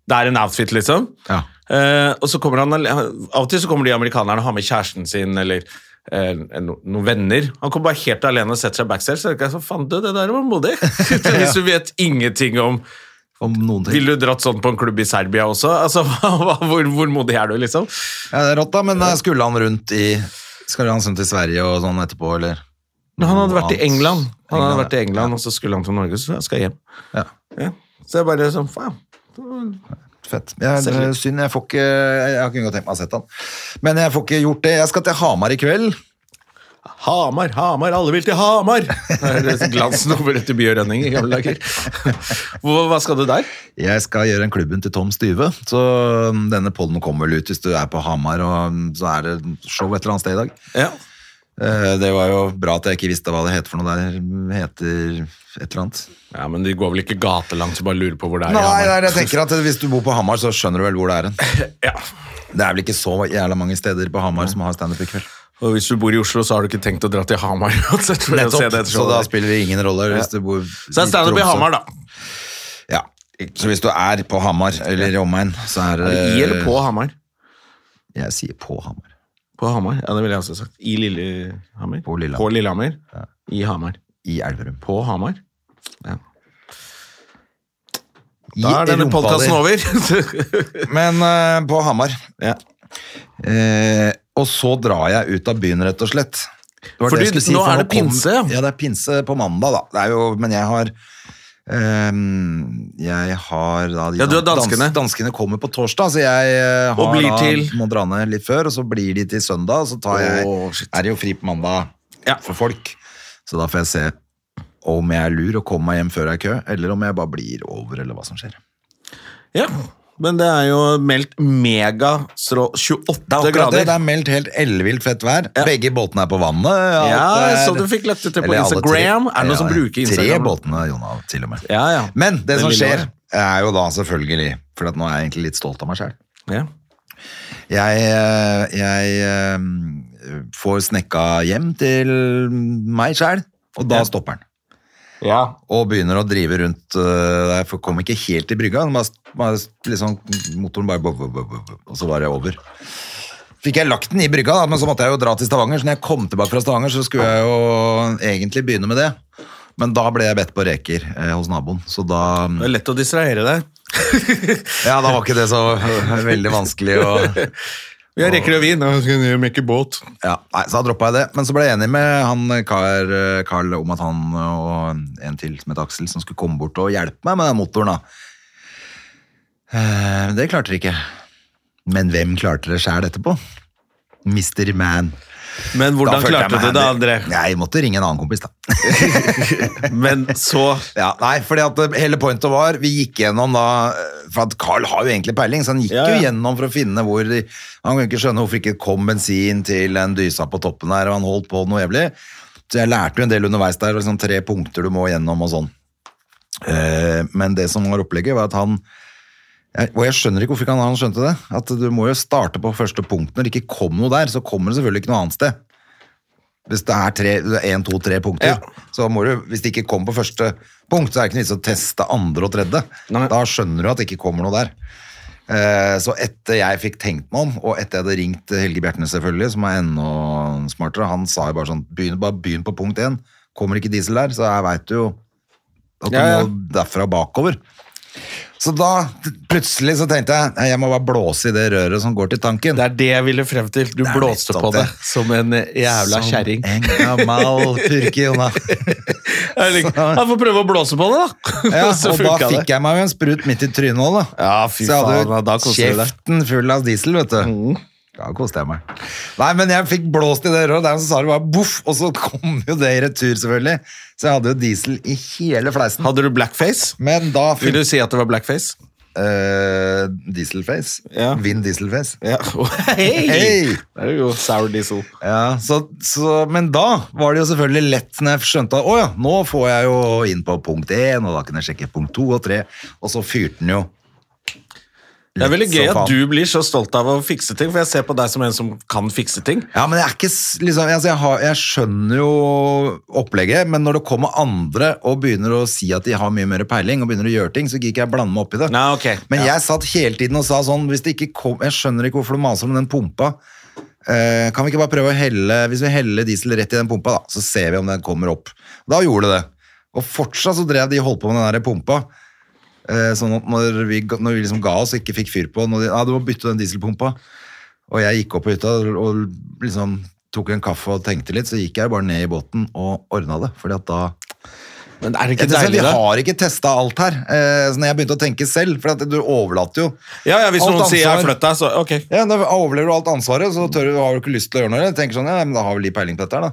Speaker 1: Det er en outfit, liksom.
Speaker 2: ja.
Speaker 1: Eh, og så kommer han, ale- Av og til så kommer de amerikanerne og har med kjæresten sin eller eh, no, noen venner. Han kommer bare helt alene og setter seg backstage. Så tenker jeg sånn, faen du, det der var modig. *laughs* Hvis du vet ingenting om
Speaker 2: Om noen ting.
Speaker 1: Ville du dratt sånn på en klubb i Serbia også? Altså, *laughs* hva, hvor, hvor modig er du, liksom?
Speaker 2: Ja, det er rått, da, men eh, skulle han rundt i Skulle han sånn til Sverige og sånn etterpå, eller?
Speaker 1: Men han hadde
Speaker 2: Noe
Speaker 1: vært i
Speaker 2: annet.
Speaker 1: England, Han hadde vært i
Speaker 2: ja.
Speaker 1: England og så skulle han til Norge, så jeg skal hjem.
Speaker 2: Ja.
Speaker 1: Ja. Så jeg bare sånn, faen.
Speaker 2: Fett. Jeg, det er synd, jeg får ikke Jeg har ikke engang tenkt meg å ha sett han. Men jeg får ikke gjort det. Jeg skal til Hamar i kveld.
Speaker 1: Hamar, Hamar, alle vil til Hamar! *laughs* Det er Glansen over etter By og Rønning i gamle *laughs* dager. Hva, hva skal du der?
Speaker 2: Jeg skal gjøre en klubben til Tom Styve, så um, denne pollen kommer vel ut hvis du er på Hamar, og um, så er det show et eller annet sted i dag.
Speaker 1: Ja.
Speaker 2: Eh, Det var jo bra at jeg ikke visste hva det heter for noe der. Det Heter et eller annet.
Speaker 1: Ja, men de går vel ikke gatelangt og bare lurer på hvor det er? i
Speaker 2: Nei,
Speaker 1: Hamar.
Speaker 2: nei, jeg tenker at hvis du bor på Hamar, så skjønner du vel hvor det er hen.
Speaker 1: Ja.
Speaker 2: Det er vel ikke så jævla mange steder på Hamar som har standup i
Speaker 1: *laughs*
Speaker 2: kveld.
Speaker 1: Og hvis du bor i Oslo, så har du ikke tenkt å dra til Hamar *laughs* uansett. for å se det
Speaker 2: Nettopp, så da
Speaker 1: showet.
Speaker 2: spiller det ingen rolle hvis du bor
Speaker 1: Så er standup i Hamar, da.
Speaker 2: Ja. Så hvis du er på Hamar eller i omegn, så er det
Speaker 1: I eller på Hamar?
Speaker 2: Jeg sier på Hamar.
Speaker 1: På Hamar, ja, det ville jeg også sagt. I Lillehammer?
Speaker 2: På Lillehammer.
Speaker 1: På Lillehammer. I Hamar.
Speaker 2: I Elverum.
Speaker 1: På Hamar. Ja.
Speaker 2: I
Speaker 1: Da er denne
Speaker 2: rumpa
Speaker 1: podkasten
Speaker 2: di.
Speaker 1: over.
Speaker 2: Men eh, på Hamar.
Speaker 1: *laughs* ja.
Speaker 2: Eh, og så drar jeg ut av byen, rett og slett. Det var
Speaker 1: Fordi
Speaker 2: det jeg skulle
Speaker 1: nå
Speaker 2: for
Speaker 1: er det pinse, ja.
Speaker 2: Kom, ja, det er pinse på mandag, da. Det er jo, men jeg har ehm, Jeg har da de
Speaker 1: Ja, du er danskene.
Speaker 2: danskene kommer på torsdag, så jeg eh, har
Speaker 1: Og blir
Speaker 2: da,
Speaker 1: til-
Speaker 2: må dra ned litt før, og så blir de til søndag, og så tar jeg,
Speaker 1: Åh, shit.
Speaker 2: er det jo fri på mandag
Speaker 1: Ja.
Speaker 2: for folk. Så da får jeg se om jeg er lur og kommer meg hjem før det er kø, eller om jeg bare blir over, eller hva som skjer.
Speaker 1: ja. Men det er jo meldt megastrå 28
Speaker 2: Det er akkurat det.
Speaker 1: grader.
Speaker 2: Det er meldt helt ellevilt fett vær. Begge båtene er på vannet. alt
Speaker 1: Ja,
Speaker 2: er-
Speaker 1: så du fikk lette til på
Speaker 2: Eller alle
Speaker 1: Instagram.
Speaker 2: tre-
Speaker 1: Er det noen som
Speaker 2: Ja,
Speaker 1: bruker
Speaker 2: Tre
Speaker 1: Instagram?
Speaker 2: båtene, Jonna, til og med.
Speaker 1: Ja, ja.
Speaker 2: Men det,
Speaker 1: Den
Speaker 2: som
Speaker 1: lille
Speaker 2: skjer,
Speaker 1: var-
Speaker 2: er jo da selvfølgelig For at nå er jeg egentlig litt stolt av meg sjøl.
Speaker 1: Ja.
Speaker 2: Jeg, eh, jeg eh, får snekka hjem til meg sjæl, og da
Speaker 1: Ja.
Speaker 2: stopper den.
Speaker 1: ja.
Speaker 2: Og begynner å drive rundt eh, Jeg kom ikke helt til brygga, den bare, bare, liksom, motoren bare bop, bop, bop, bop, Og så var jeg over. Fikk jeg lagt den i brygga, da, men så måtte jeg jo dra til Stavanger. Så når jeg kom tilbake fra Stavanger, så skulle jeg jo egentlig begynne med det. Men da ble jeg bedt på reker eh, hos naboen, så da
Speaker 1: Det er lett å distrahere deg. *laughs*
Speaker 2: *laughs* Ja, da var ikke det så veldig vanskelig å
Speaker 1: Hvis Vi har reker og vin. Ja, skal vi mekke båt.
Speaker 2: Ja, nei, så da droppa jeg det. Men så ble jeg enig med han eh, kar, eh, Carl om at han og en til som het Aksel, som skulle komme bort og hjelpe meg med den motoren. da. Eh, men det klarte de ikke. Men hvem klarte det sjæl etterpå? Mr. Man.
Speaker 1: Men hvordan
Speaker 2: Da følte jeg
Speaker 1: klarte
Speaker 2: meg
Speaker 1: du det, André?
Speaker 2: handy. Jeg måtte ringe en annen kompis, da.
Speaker 1: Men så
Speaker 2: *laughs* Ja, nei, fordi at eh, hele pointet var Vi gikk gjennom da eh, For at Carl har jo egentlig peiling, så han gikk
Speaker 1: Ja, ja.
Speaker 2: jo gjennom for å finne hvor de- Han kan ikke skjønne hvorfor ikke kom bensin til den dysa på toppen her, og han holdt på noe jævlig. Så jeg lærte jo en del underveis der, og liksom tre punkter du må gjennom og sånn. Eh, Men det som var opplegget, var at han jeg- og jeg skjønner ikke hvorfor ikke han, han skjønte det. At du må jo starte på første punkt. Når det ikke kom noe der, så kommer det selvfølgelig ikke noe annet sted. Hvis det er tre, en, to, tre punkter, så må du, hvis det ikke kommer på første punkt, så er det ikke noe vits å teste andre og tredje.
Speaker 1: Nei.
Speaker 2: Da skjønner du at det ikke kommer noe der. Eh, Så etter jeg fikk tenkt meg om, og etter jeg hadde ringt Helge Bjertnæs selvfølgelig, som er enda smartere, han sa jo bare sånn, begynn, bare begynn på punkt 1, kommer ikke diesel der, så jeg vet jo at du
Speaker 1: Ja, ja.
Speaker 2: må derfra bakover. Så da, plutselig så tenkte jeg, «Nei, jeg må bare blåse i det røret som går til tanken.
Speaker 1: Det er det jeg ville frem til. Du
Speaker 2: Det er
Speaker 1: blåste
Speaker 2: nettopp
Speaker 1: på det
Speaker 2: det.
Speaker 1: som en jævla
Speaker 2: Som
Speaker 1: kjerring.
Speaker 2: En gammel purke, Jonna.
Speaker 1: *laughs* Jeg liker- Jeg får prøve å blåse på det, *laughs* da.
Speaker 2: Ja,
Speaker 1: Så
Speaker 2: og da
Speaker 1: funka det.
Speaker 2: fikk jeg meg jo en sprut midt i trynet òg, da.
Speaker 1: Ja, fy
Speaker 2: Så jeg
Speaker 1: faen, ja, da
Speaker 2: hadde jo
Speaker 1: koste du deg. Mm.
Speaker 2: kjeften full av diesel, vet du. Da koste jeg meg. Nei, men jeg fikk blåst i det røret, der så sa det bare boff, og så *laughs* kom jo det i retur, selvfølgelig. Så jeg hadde jo diesel i hele fleisen.
Speaker 1: Hadde du blackface?
Speaker 2: Men da
Speaker 1: Vil
Speaker 2: fikk
Speaker 1: du si at det var blackface?
Speaker 2: Eh, Dieselface.
Speaker 1: Ja.
Speaker 2: Vinn Dieselface.
Speaker 1: Ja. *laughs* Hei!
Speaker 2: Hei!
Speaker 1: Det er jo sour diesel.
Speaker 2: Ja, så, så, men da var det jo selvfølgelig lett når jeg skjønte at å ja, nå får jeg jo inn på punkt 1, og da kan jeg sjekke punkt 2 og 3, og så fyrte den jo.
Speaker 1: Det er veldig
Speaker 2: Litt
Speaker 1: gøy
Speaker 2: som
Speaker 1: at
Speaker 2: faen.
Speaker 1: du blir så stolt av å fikse ting, for jeg ser på deg som en som kan fikse ting.
Speaker 2: Ja, men jeg er ikke s- liksom, altså jeg, har, jeg skjønner jo opplegget, men når det kommer andre og begynner å si at de har mye mer peiling, og begynner å gjøre ting, så gikk jeg blande meg opp i det.
Speaker 1: Nei, ok.
Speaker 2: Men
Speaker 1: Ja.
Speaker 2: jeg satt hele tiden og sa sånn, hvis det ikke kom, jeg skjønner ikke hvorfor du maser om den pumpa, eh, kan vi ikke bare prøve å helle, hvis vi heller diesel rett i den pumpa da, så ser vi om den kommer opp. Da gjorde det det. Og fortsatt så drev de og holdt på med den der pumpa, eh, sånn at når vi, ga- når vi liksom ga oss og ikke fikk fyr på, når de, ja, du må bytte den dieselpumpa. Og jeg gikk opp på hytta og liksom tok en kaffe og tenkte litt, så gikk jeg bare ned i båten og ordna det. Fordi at da
Speaker 1: Men er det
Speaker 2: Jeg
Speaker 1: ikke
Speaker 2: tenker,
Speaker 1: deilig,
Speaker 2: Vi
Speaker 1: da?
Speaker 2: har ikke testa alt her. Eh, så når jeg begynte å tenke selv, for at du overlater jo
Speaker 1: Ja, ja, hvis
Speaker 2: Alt
Speaker 1: noen sier 'jeg har
Speaker 2: ansvar.
Speaker 1: flytta', så ok.
Speaker 2: ja, Da overlever du alt ansvaret, så tør du, har du ikke lyst til å gjøre noe. Jeg tenker sånn, ja, men da har vi litt peiling på dette her, da.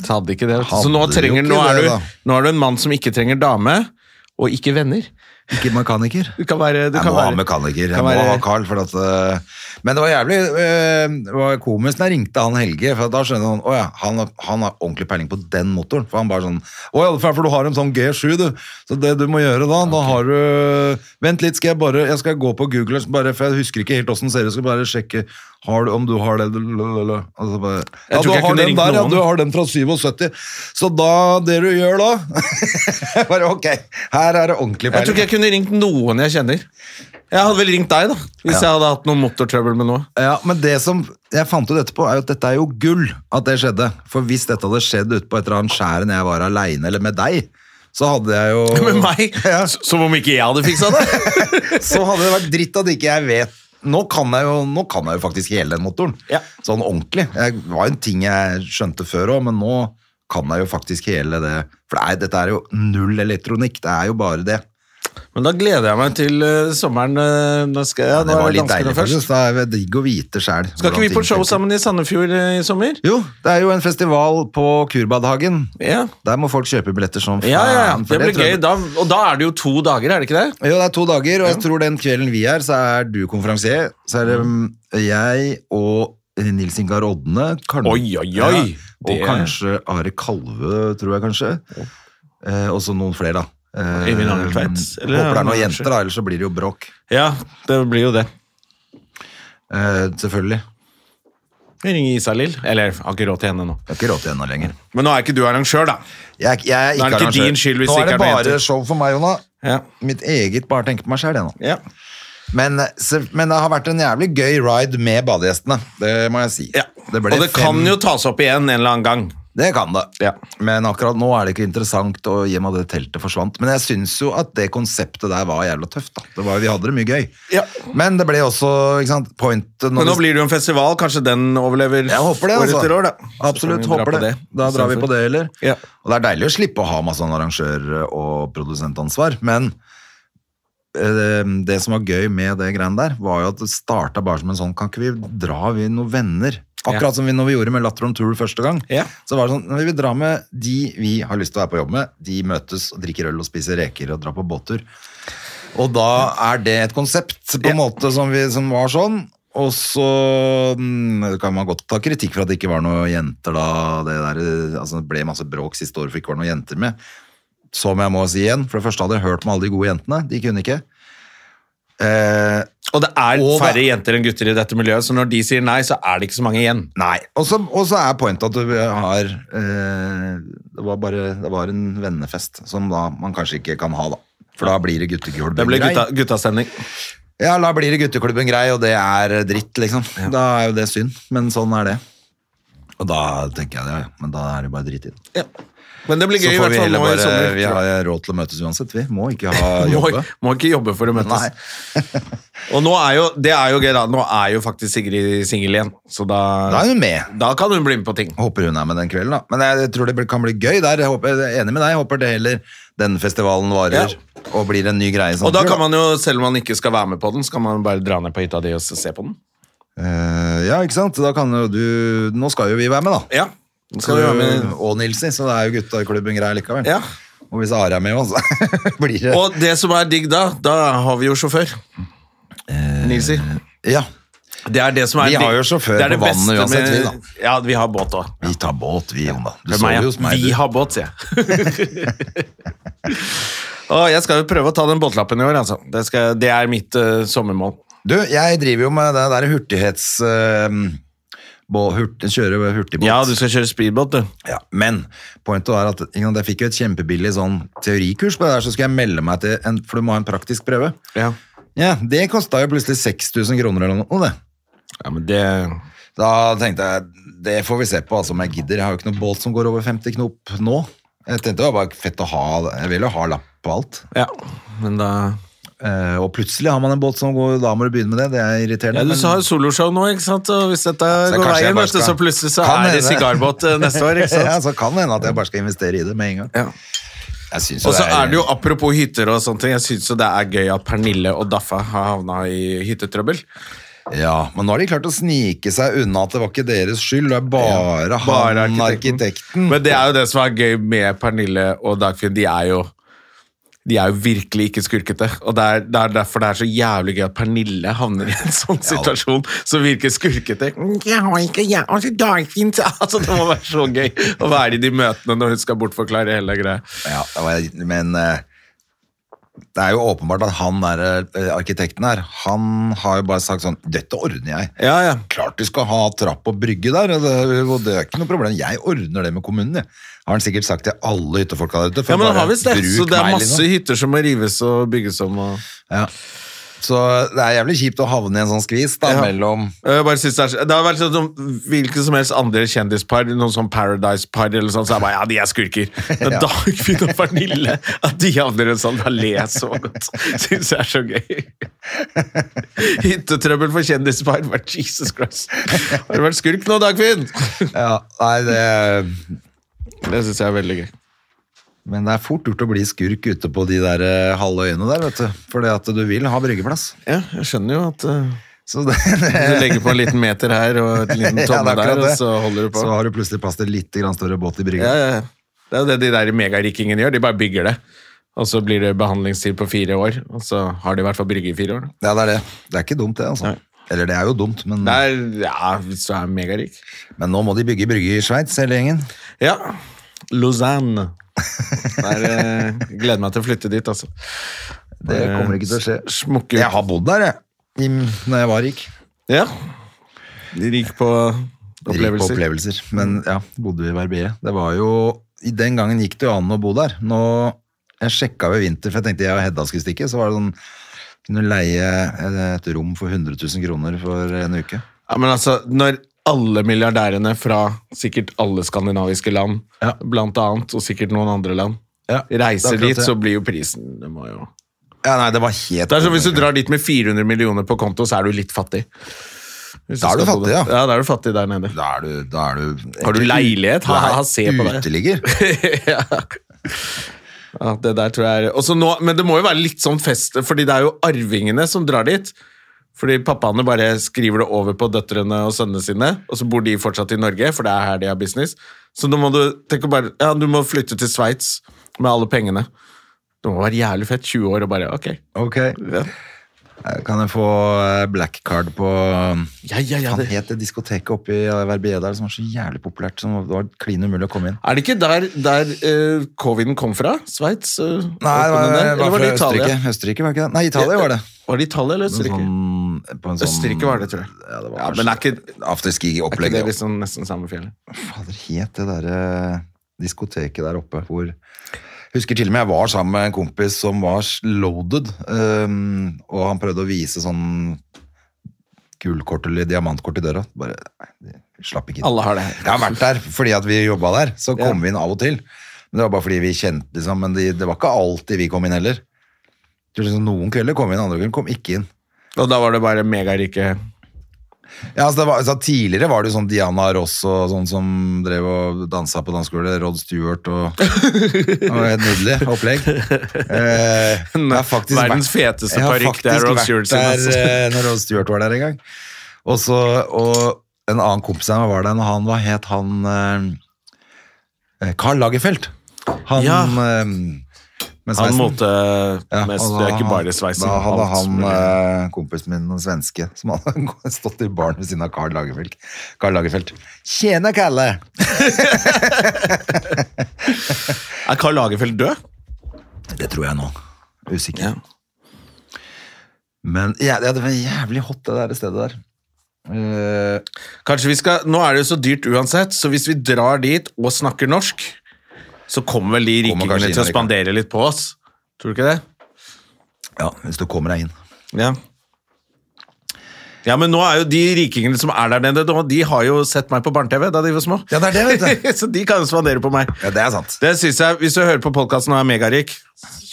Speaker 1: Så hadde ikke det.
Speaker 2: Hadde
Speaker 1: Så nå,
Speaker 2: jo
Speaker 1: trenger,
Speaker 2: ikke
Speaker 1: nå, er
Speaker 2: det,
Speaker 1: du,
Speaker 2: da.
Speaker 1: nå er du en mann som ikke trenger dame, og ikke venner.
Speaker 2: Ikke mekaniker.
Speaker 1: Du kan være, du
Speaker 2: Jeg
Speaker 1: kan
Speaker 2: må ha
Speaker 1: være.
Speaker 2: mekaniker, jeg
Speaker 1: kan
Speaker 2: må
Speaker 1: være-
Speaker 2: ha Carl. For at, eh, men det var jævlig eh, det var komisk når jeg ringte han Helge, for at da skjønner han åja, han, har- han har ordentlig peiling på den motoren. For han bare sånn Å ja, for for du har en sånn G7, du. Så det du må gjøre da, da har du Vent litt, skal jeg bare Jeg skal gå på Google, bare, for jeg husker ikke helt åssen den ser ut, skal bare sjekke har du, om du har det lalalala. Og så bare,
Speaker 1: Jeg
Speaker 2: Ja,
Speaker 1: tror
Speaker 2: du
Speaker 1: ikke jeg
Speaker 2: har
Speaker 1: kunne
Speaker 2: den
Speaker 1: ringt
Speaker 2: der, ja.
Speaker 1: noen.
Speaker 2: Du har den fra 77. Så da Det du gjør da *laughs* Jeg Bare ok, her er det ordentlig
Speaker 1: Jeg tror ikke jeg kunne ringt noen jeg kjenner. Jeg hadde vel ringt deg, da, hvis jeg hadde hatt noe motortrøbbel med noe.
Speaker 2: Ja, men det som jeg fant ut etterpå, er jo at dette er jo gull at det skjedde. For hvis dette hadde skjedd ute på et eller annet skjær når jeg var aleine, eller med deg, så hadde jeg jo
Speaker 1: *laughs* *laughs* Med meg!
Speaker 2: Ja,
Speaker 1: S- Som om ikke jeg hadde fiksa det!
Speaker 2: så hadde det vært dritt at ikke jeg vet nå kan, jeg jo, nå kan jeg jo faktisk hele den motoren.
Speaker 1: Ja.
Speaker 2: Sånn ordentlig. Jeg- Det var jo en ting jeg skjønte før òg, men nå kan jeg jo faktisk hele det. For det er, dette er jo null elektronikk. Det er jo bare det.
Speaker 1: *laughs* Men da gleder jeg meg til eh, sommeren. eh, nå skal jeg, nå
Speaker 2: Det var
Speaker 1: er det
Speaker 2: litt deilig,
Speaker 1: danskene først.
Speaker 2: faktisk. Da er det digg å vite sjæl.
Speaker 1: Skal ikke vi på show sammen i Sandefjord eh, i sommer?
Speaker 2: Jo, det er jo en festival på Kurbadhagen.
Speaker 1: Ja,
Speaker 2: Der må folk kjøpe billetter som
Speaker 1: ja, ja, ja.
Speaker 2: faen, for
Speaker 1: det blir
Speaker 2: tror
Speaker 1: gøy.
Speaker 2: jeg-
Speaker 1: Da, og da er det jo to dager, er det ikke det?
Speaker 2: Jo, det er to dager, og jeg tror den kvelden vi er, så er du konferansier. Så er det mm, jeg og eh, Nils Ingar Odne. kan-
Speaker 1: Oi, oi, oi.
Speaker 2: og
Speaker 1: Det-
Speaker 2: kanskje Are Kalve, tror jeg kanskje. Eh, og så noen flere, da. Eh,
Speaker 1: Øyvind Angeltveit, eller-
Speaker 2: Håper det er noen
Speaker 1: kanskje.
Speaker 2: jenter, da, ellers så blir det jo bråk.
Speaker 1: Ja, det blir jo det.
Speaker 2: Eh, selvfølgelig.
Speaker 1: Vi ringer Isalill. Eller, jeg har ikke råd til henne nå.
Speaker 2: Jeg har ikke råd til henne lenger.
Speaker 1: Men nå er ikke du arrangør, da.
Speaker 2: Jeg, jeg
Speaker 1: Da er
Speaker 2: er
Speaker 1: det
Speaker 2: ikke
Speaker 1: ikke
Speaker 2: arrangør.
Speaker 1: din skyld hvis
Speaker 2: Nå
Speaker 1: det
Speaker 2: er
Speaker 1: ikke
Speaker 2: det
Speaker 1: er noen
Speaker 2: bare
Speaker 1: jenter.
Speaker 2: show for meg, Jonna.
Speaker 1: Ja.
Speaker 2: Mitt eget bare tenke på meg sjæl, jeg nå.
Speaker 1: Ja.
Speaker 2: Men, se- men det har vært en jævlig gøy ride med badegjestene. Det må jeg si.
Speaker 1: ja.
Speaker 2: Det ble
Speaker 1: og det
Speaker 2: fem-
Speaker 1: kan jo tas opp igjen en eller annen gang.
Speaker 2: Det kan det.
Speaker 1: Ja.
Speaker 2: Men akkurat nå er det ikke interessant, og i og med at det teltet forsvant. Men jeg syns jo at det konseptet der var jævla tøft. da. Det var, vi hadde det mye gøy.
Speaker 1: Ja.
Speaker 2: Men det ble også ikke sant, pointet
Speaker 1: Men nå
Speaker 2: vi-
Speaker 1: blir det jo en festival, kanskje den overlever
Speaker 2: jeg håper det,
Speaker 1: år
Speaker 2: altså.
Speaker 1: etter år, da.
Speaker 2: Absolutt, håper det. Da drar vi på det, eller?
Speaker 1: Ja.
Speaker 2: Og det er deilig å slippe å ha masse sånn arrangør- og produsentansvar, men eh, det som var gøy med det greiene der, var jo at det starta bare som en sånn Kan ikke vi dra, vi noen venner? Akkurat som vi når vi gjorde med Latter on Tour første gang.
Speaker 1: Ja.
Speaker 2: Så var det sånn, Vi vil dra med de vi har lyst til å være på jobb med. De møtes og drikker øl og spiser reker og drar på båttur. Og da er det et konsept på en måte som, vi, som var sånn. Og så mm, kan man godt ta kritikk for at det ikke var noen jenter da. Det, der, eh, altså, det ble masse bråk siste år for det ikke var noen jenter med. Som jeg må si igjen, for det første hadde jeg hørt med alle de gode jentene. De kunne ikke. Eh,
Speaker 1: Og det er
Speaker 2: Og
Speaker 1: færre
Speaker 2: det-
Speaker 1: jenter enn gutter i dette miljøet, så når de sier nei, så er det ikke så mange igjen.
Speaker 2: Nei. Og så, og så er pointet at du har eh, det, var bare, det var en vennefest som da man kanskje ikke kan ha, da. For da blir det
Speaker 1: Det
Speaker 2: gutteklubben
Speaker 1: ble
Speaker 2: grei.
Speaker 1: gutta, guttastemning.
Speaker 2: Ja, da blir det gutteklubben grei, og det er dritt, liksom. Da er jo det synd, men sånn er det. Og da tenker jeg det, ja. Men da er det bare dritt i det.
Speaker 1: Ja. Men det blir
Speaker 2: Så
Speaker 1: gøy i
Speaker 2: får
Speaker 1: hvert
Speaker 2: vi
Speaker 1: fall
Speaker 2: heller
Speaker 1: nå i
Speaker 2: bare
Speaker 1: sommer.
Speaker 2: Vi har råd til å møtes uansett, vi. Må ikke
Speaker 1: *laughs*
Speaker 2: ha
Speaker 1: må,
Speaker 2: jobbe.
Speaker 1: må ikke jobbe for å møtes.
Speaker 2: Nei.
Speaker 1: Og nå er jo, det er jo gøy, da. Nå er jo faktisk Sigrid singel igjen, så da,
Speaker 2: Da er hun med.
Speaker 1: da kan hun bli med på ting.
Speaker 2: Håper hun er med den kvelden, da. Men jeg tror det blir- kan bli gøy der. Jeg håper, jeg er enig med deg. Jeg håper det heller denne festivalen varer og blir en ny greie.
Speaker 1: Og da
Speaker 2: samtidig,
Speaker 1: kan man jo, selv om man ikke skal være med på den, så kan man bare dra ned på hytta di og se på den.
Speaker 2: Eh, ja, ikke sant? Da kan jo du Nå skal jo vi være med, da.
Speaker 1: Ja, den skal du være med.
Speaker 2: Og Nilsi, så det er jo gutta i klubben greier likevel.
Speaker 1: Ja.
Speaker 2: Og hvis Are er med også, så *laughs* blir det
Speaker 1: Og det som er digg da, da har vi jo sjåfør. Nilsi.
Speaker 2: Ja.
Speaker 1: Det er det som er
Speaker 2: Vi
Speaker 1: digg.
Speaker 2: har jo sjåfør
Speaker 1: Det er det
Speaker 2: på vannet
Speaker 1: beste
Speaker 2: uansett, vi
Speaker 1: med- Ja, vi har båt òg.
Speaker 2: Vi tar båt, vi, Jon, da. Du
Speaker 1: Hvem er
Speaker 2: sover
Speaker 1: jeg?
Speaker 2: jo hos meg.
Speaker 1: Vi
Speaker 2: du.
Speaker 1: har båt, sier jeg. *laughs* Å, jeg skal jo prøve å ta den båtlappen i år, altså. Det, skal, det er mitt eh, sommermål.
Speaker 2: Du, jeg driver jo med det der hurtighets... Uh, hurt, kjøre hurtigbåt.
Speaker 1: Ja, du skal kjøre speedbåt, du.
Speaker 2: Ja, men pointet var at ikke sant, jeg fikk jo et kjempebillig sånn teorikurs på det der, så skulle jeg melde meg til en, For du må ha en praktisk prøve.
Speaker 1: Ja.
Speaker 2: Ja, Det kosta jo plutselig 6000 kroner eller noe. det.
Speaker 1: men det
Speaker 2: Da tenkte jeg, det får vi se på altså, om jeg gidder. Jeg har jo ikke noen båt som går over 50 knop nå. Jeg tenkte det var bare fett å ha, jeg vil jo ha lapp på alt.
Speaker 1: Ja, men da
Speaker 2: Eh, og plutselig har man en båt som går, da må du begynne med det, det er irriterende.
Speaker 1: Ja, Du
Speaker 2: men-
Speaker 1: sa jo soloshow nå, ikke sant? Og hvis dette går
Speaker 2: kanskje jeg
Speaker 1: veien,
Speaker 2: bare
Speaker 1: vet du,
Speaker 2: skal-
Speaker 1: så plutselig så
Speaker 2: Kan
Speaker 1: er det
Speaker 2: hende.
Speaker 1: sigarbåt eh, neste år, *laughs*
Speaker 2: *laughs*
Speaker 1: ikke
Speaker 2: ja,
Speaker 1: sant?
Speaker 2: så kan det hende at jeg bare skal investere i det med en gang.
Speaker 1: Ja.
Speaker 2: Jeg synes
Speaker 1: Og så er det jo, apropos hytter og sånne ting, jeg syns jo det er gøy at Pernille og Daffa har havna i hyttetrøbbel.
Speaker 2: Ja, men nå har de klart å snike seg unna at det var ikke deres skyld, det er bare,
Speaker 1: Bare
Speaker 2: han, arkitekten.
Speaker 1: Men det er jo det som er gøy med Pernille og Dagfinn. De er jo, de er jo virkelig ikke skurkete. Og det er, det er derfor det er så jævlig gøy at Pernille havner i en *laughs* sånn situasjon som virker skurkete. «Mm, Jeg har ikke jeg, altså Dagfinn sa-» *laughs* altså, Det må være så gøy å være i de møtene når hun skal bortforklare hele greia.
Speaker 2: Ja, det var, men eh, det er jo åpenbart at han der, eh, arkitekten her, han har jo bare sagt sånn, dette ordner jeg.
Speaker 1: Ja, ja.
Speaker 2: Klart du skal ha trapp og brygge der, og det, og det er ikke noe problem. Jeg ordner det med kommunen, jeg. Har han sikkert sagt til alle hyttefolka der ute. for
Speaker 1: Ja, men han
Speaker 2: bare
Speaker 1: har visst det.
Speaker 2: bruk
Speaker 1: Så det er
Speaker 2: meg,
Speaker 1: masse
Speaker 2: liksom.
Speaker 1: hytter som må rives og bygges om. og...
Speaker 2: Ja. Så det er jævlig kjipt å havne i en sånn skvis da,
Speaker 1: Ja.
Speaker 2: mellom...
Speaker 1: Eh, Jeg bare synes det, er, så- det har vært sånn som hvilke som helst andre kjendispar, noen sånn Paradise-par eller sånn, så er det bare, ja, de er skurker.
Speaker 2: *laughs*
Speaker 1: Men
Speaker 2: Ja.
Speaker 1: Dagfinn og Pernille, at de havner i en sånn, da ler jeg så godt. Synes jeg er så
Speaker 2: *laughs*
Speaker 1: gøy. Hyttetrøbbel for kjendispar, bare Jesus Christ. Har du vært skurk nå, Dagfinn?
Speaker 2: Ja, nei, det...
Speaker 1: Det synes jeg er veldig gøy.
Speaker 2: Men det er fort gjort å bli skurk ute på de der eh, halve øyene der, vet du. Fordi at du vil ha bryggeplass.
Speaker 1: Ja, jeg skjønner jo at eh,
Speaker 2: Så det,
Speaker 1: *laughs* du legger på en liten meter her og en liten
Speaker 2: Eh. *laughs* Ja, det er
Speaker 1: tomme
Speaker 2: akkurat
Speaker 1: der, og
Speaker 2: det.
Speaker 1: så holder du på.
Speaker 2: Så har du plutselig plass til litt grann større båt i brygga.
Speaker 1: Ja, ja, ja. Det er jo det de der megarikkingene gjør. De bare bygger det. Og så blir det behandlingstid på fire år, og så har de i hvert fall brygge i fire år. da.
Speaker 2: Ja, det er det. Det er ikke dumt, det, altså.
Speaker 1: Nei.
Speaker 2: Eller det er jo dumt, men,
Speaker 1: Det er, ja, hvis du er megarik.
Speaker 2: men nå må de bygge brygge i Sveits, hele gjengen.
Speaker 1: Ja. Lausanne. Der, eh, gleder meg til å flytte dit, altså. Eh,
Speaker 2: Det kommer ikke til å skje.
Speaker 1: Smukke
Speaker 2: Jeg
Speaker 1: ut.
Speaker 2: har bodd der, jeg. I, når jeg var rik.
Speaker 1: Ja. Rik på
Speaker 2: Rik på
Speaker 1: opplevelser. Mm.
Speaker 2: opplevelser. Men ja, bodde vi i Verbier. Det var jo i Den gangen gikk det jo an å bo der. Nå Jeg sjekka ved vinter, for jeg tenkte jeg og Hedda skulle stikke. Så var det sånn eh, Kunne leie et rom for 100 000 kroner for en uke.
Speaker 1: Ja, men altså, når alle milliardærene fra sikkert alle skandinaviske land,
Speaker 2: Ja.
Speaker 1: blant annet, og sikkert noen andre land.
Speaker 2: Ja, det er
Speaker 1: Reiser
Speaker 2: akkurat
Speaker 1: dit,
Speaker 2: det.
Speaker 1: så blir jo prisen det må jo...
Speaker 2: Ja, nei, det var helt
Speaker 1: Det er som hvis du drar dit med 400 millioner på konto, så er du litt fattig. Hvis
Speaker 2: Da er
Speaker 1: skal
Speaker 2: du
Speaker 1: på det.
Speaker 2: fattig, ja.
Speaker 1: Ja, da er du fattig der
Speaker 2: *laughs*
Speaker 1: nede.
Speaker 2: Da er du, da er du
Speaker 1: Har du leilighet? Ha, ha, ha, se på det.
Speaker 2: Uteligger.
Speaker 1: *laughs* ja. ja, det der tror jeg er Også nå, Men det må jo være litt sånn fest, fordi det er jo arvingene som drar dit. Fordi pappaene bare skriver det over på døtrene og sønnene sine, og så bor de fortsatt i Norge, for det er her de har business. Så nå må du tenke bare Ja, du må flytte til Sveits med alle pengene. Det må være jævlig fett. 20 år og bare Ok.
Speaker 2: Ok.
Speaker 1: Ja,
Speaker 2: Kan jeg få eh, black card på
Speaker 1: ja, ja, ja
Speaker 2: Han
Speaker 1: det.
Speaker 2: het det diskoteket oppe i Verbier der som var så jævlig populært. Som var- det var klin umulig å komme inn.
Speaker 1: Er det ikke der, der eh, coviden kom fra? Sveits? eh,
Speaker 2: Nei, det var,
Speaker 1: der?
Speaker 2: det
Speaker 1: Eller
Speaker 2: var fra
Speaker 1: Italia?
Speaker 2: Østerrike. Østerrike var ikke det? Nei, Italia var det.
Speaker 1: Var det Italia eller
Speaker 2: En
Speaker 1: Østerrike?
Speaker 2: sånn- på en sånn-
Speaker 1: Østerrike var det, tror jeg.
Speaker 2: Ja, det var
Speaker 1: Ja,
Speaker 2: kanskje-
Speaker 1: men er ikke- Er ikke
Speaker 2: afterski-opplegget.
Speaker 1: det liksom nesten samme fjellet?
Speaker 2: Fader, het det derre diskoteket der oppe hvor Husker til og med jeg var sammen med en kompis som var s- loaded, øhm, og han prøvde å vise sånn gullkort eller diamantkort i døra. Bare nei, det- slapp ikke inn.
Speaker 1: Alle har det.
Speaker 2: Jeg har vært der fordi at vi jobba der, så
Speaker 1: Ja.
Speaker 2: kom vi inn av og til. Men det var bare fordi vi kjente liksom, men de, det var ikke alltid vi kom inn heller. Det var Liksom, noen kvelder kom vi inn, andre kvelder kom ikke inn.
Speaker 1: Og da var det bare megarike
Speaker 2: Ja, altså det var, altså tidligere var det jo sånn Diana Ross og sånn som drev og dansa på dansegulvet. Rod Stewart og, *laughs* og et nydelig opplegg. Eh, jeg har faktisk
Speaker 1: Verdens
Speaker 2: vært-
Speaker 1: feteste
Speaker 2: jeg har
Speaker 1: parykk, det er
Speaker 2: faktisk
Speaker 1: Rod
Speaker 2: vært
Speaker 1: Stewart sin,
Speaker 2: der,
Speaker 1: altså.
Speaker 2: eh, Når Rod Stewart var der en gang. Og så, og en annen kompis av meg var der, og han, hva het han eh, Karl Lagerfeldt. Han
Speaker 1: Ja.
Speaker 2: eh, med
Speaker 1: Han
Speaker 2: sveisen.
Speaker 1: måtte
Speaker 2: Ja,
Speaker 1: mest,
Speaker 2: og da
Speaker 1: Det er ikke
Speaker 2: han-
Speaker 1: bare sveisen.
Speaker 2: Da hadde
Speaker 1: alt
Speaker 2: han,
Speaker 1: mulig.
Speaker 2: eh, kompisen min, den svenske, som hadde *laughs* stått i baren ved siden av Karl Lagerfeldt. Karl Lagerfeldt. Tjena, Kalle! eh,
Speaker 1: Er Karl Lagerfeldt død?
Speaker 2: Det tror jeg nå. Usikker.
Speaker 1: Ja.
Speaker 2: Men ja, det var jævlig hot, det der stedet der. Eh,
Speaker 1: Kanskje vi skal, Nå er det jo så dyrt uansett, så hvis vi drar dit og snakker norsk, så kommer vel de
Speaker 2: Kommer
Speaker 1: rikingene
Speaker 2: kanskje inn
Speaker 1: til å
Speaker 2: her,
Speaker 1: spandere litt på oss. Tror du ikke det?
Speaker 2: ja, hvis du kommer deg inn.
Speaker 1: Ja. Ja, men nå er jo de rikingene som er der nede, nå, de har jo sett meg på barne-TV da de var små.
Speaker 2: Ja, det er det, vet
Speaker 1: *laughs* så de kan jo spandere på meg.
Speaker 2: *laughs* Ja, det er sant.
Speaker 1: Det synes jeg, Hvis du hører på podkasten og er megarik,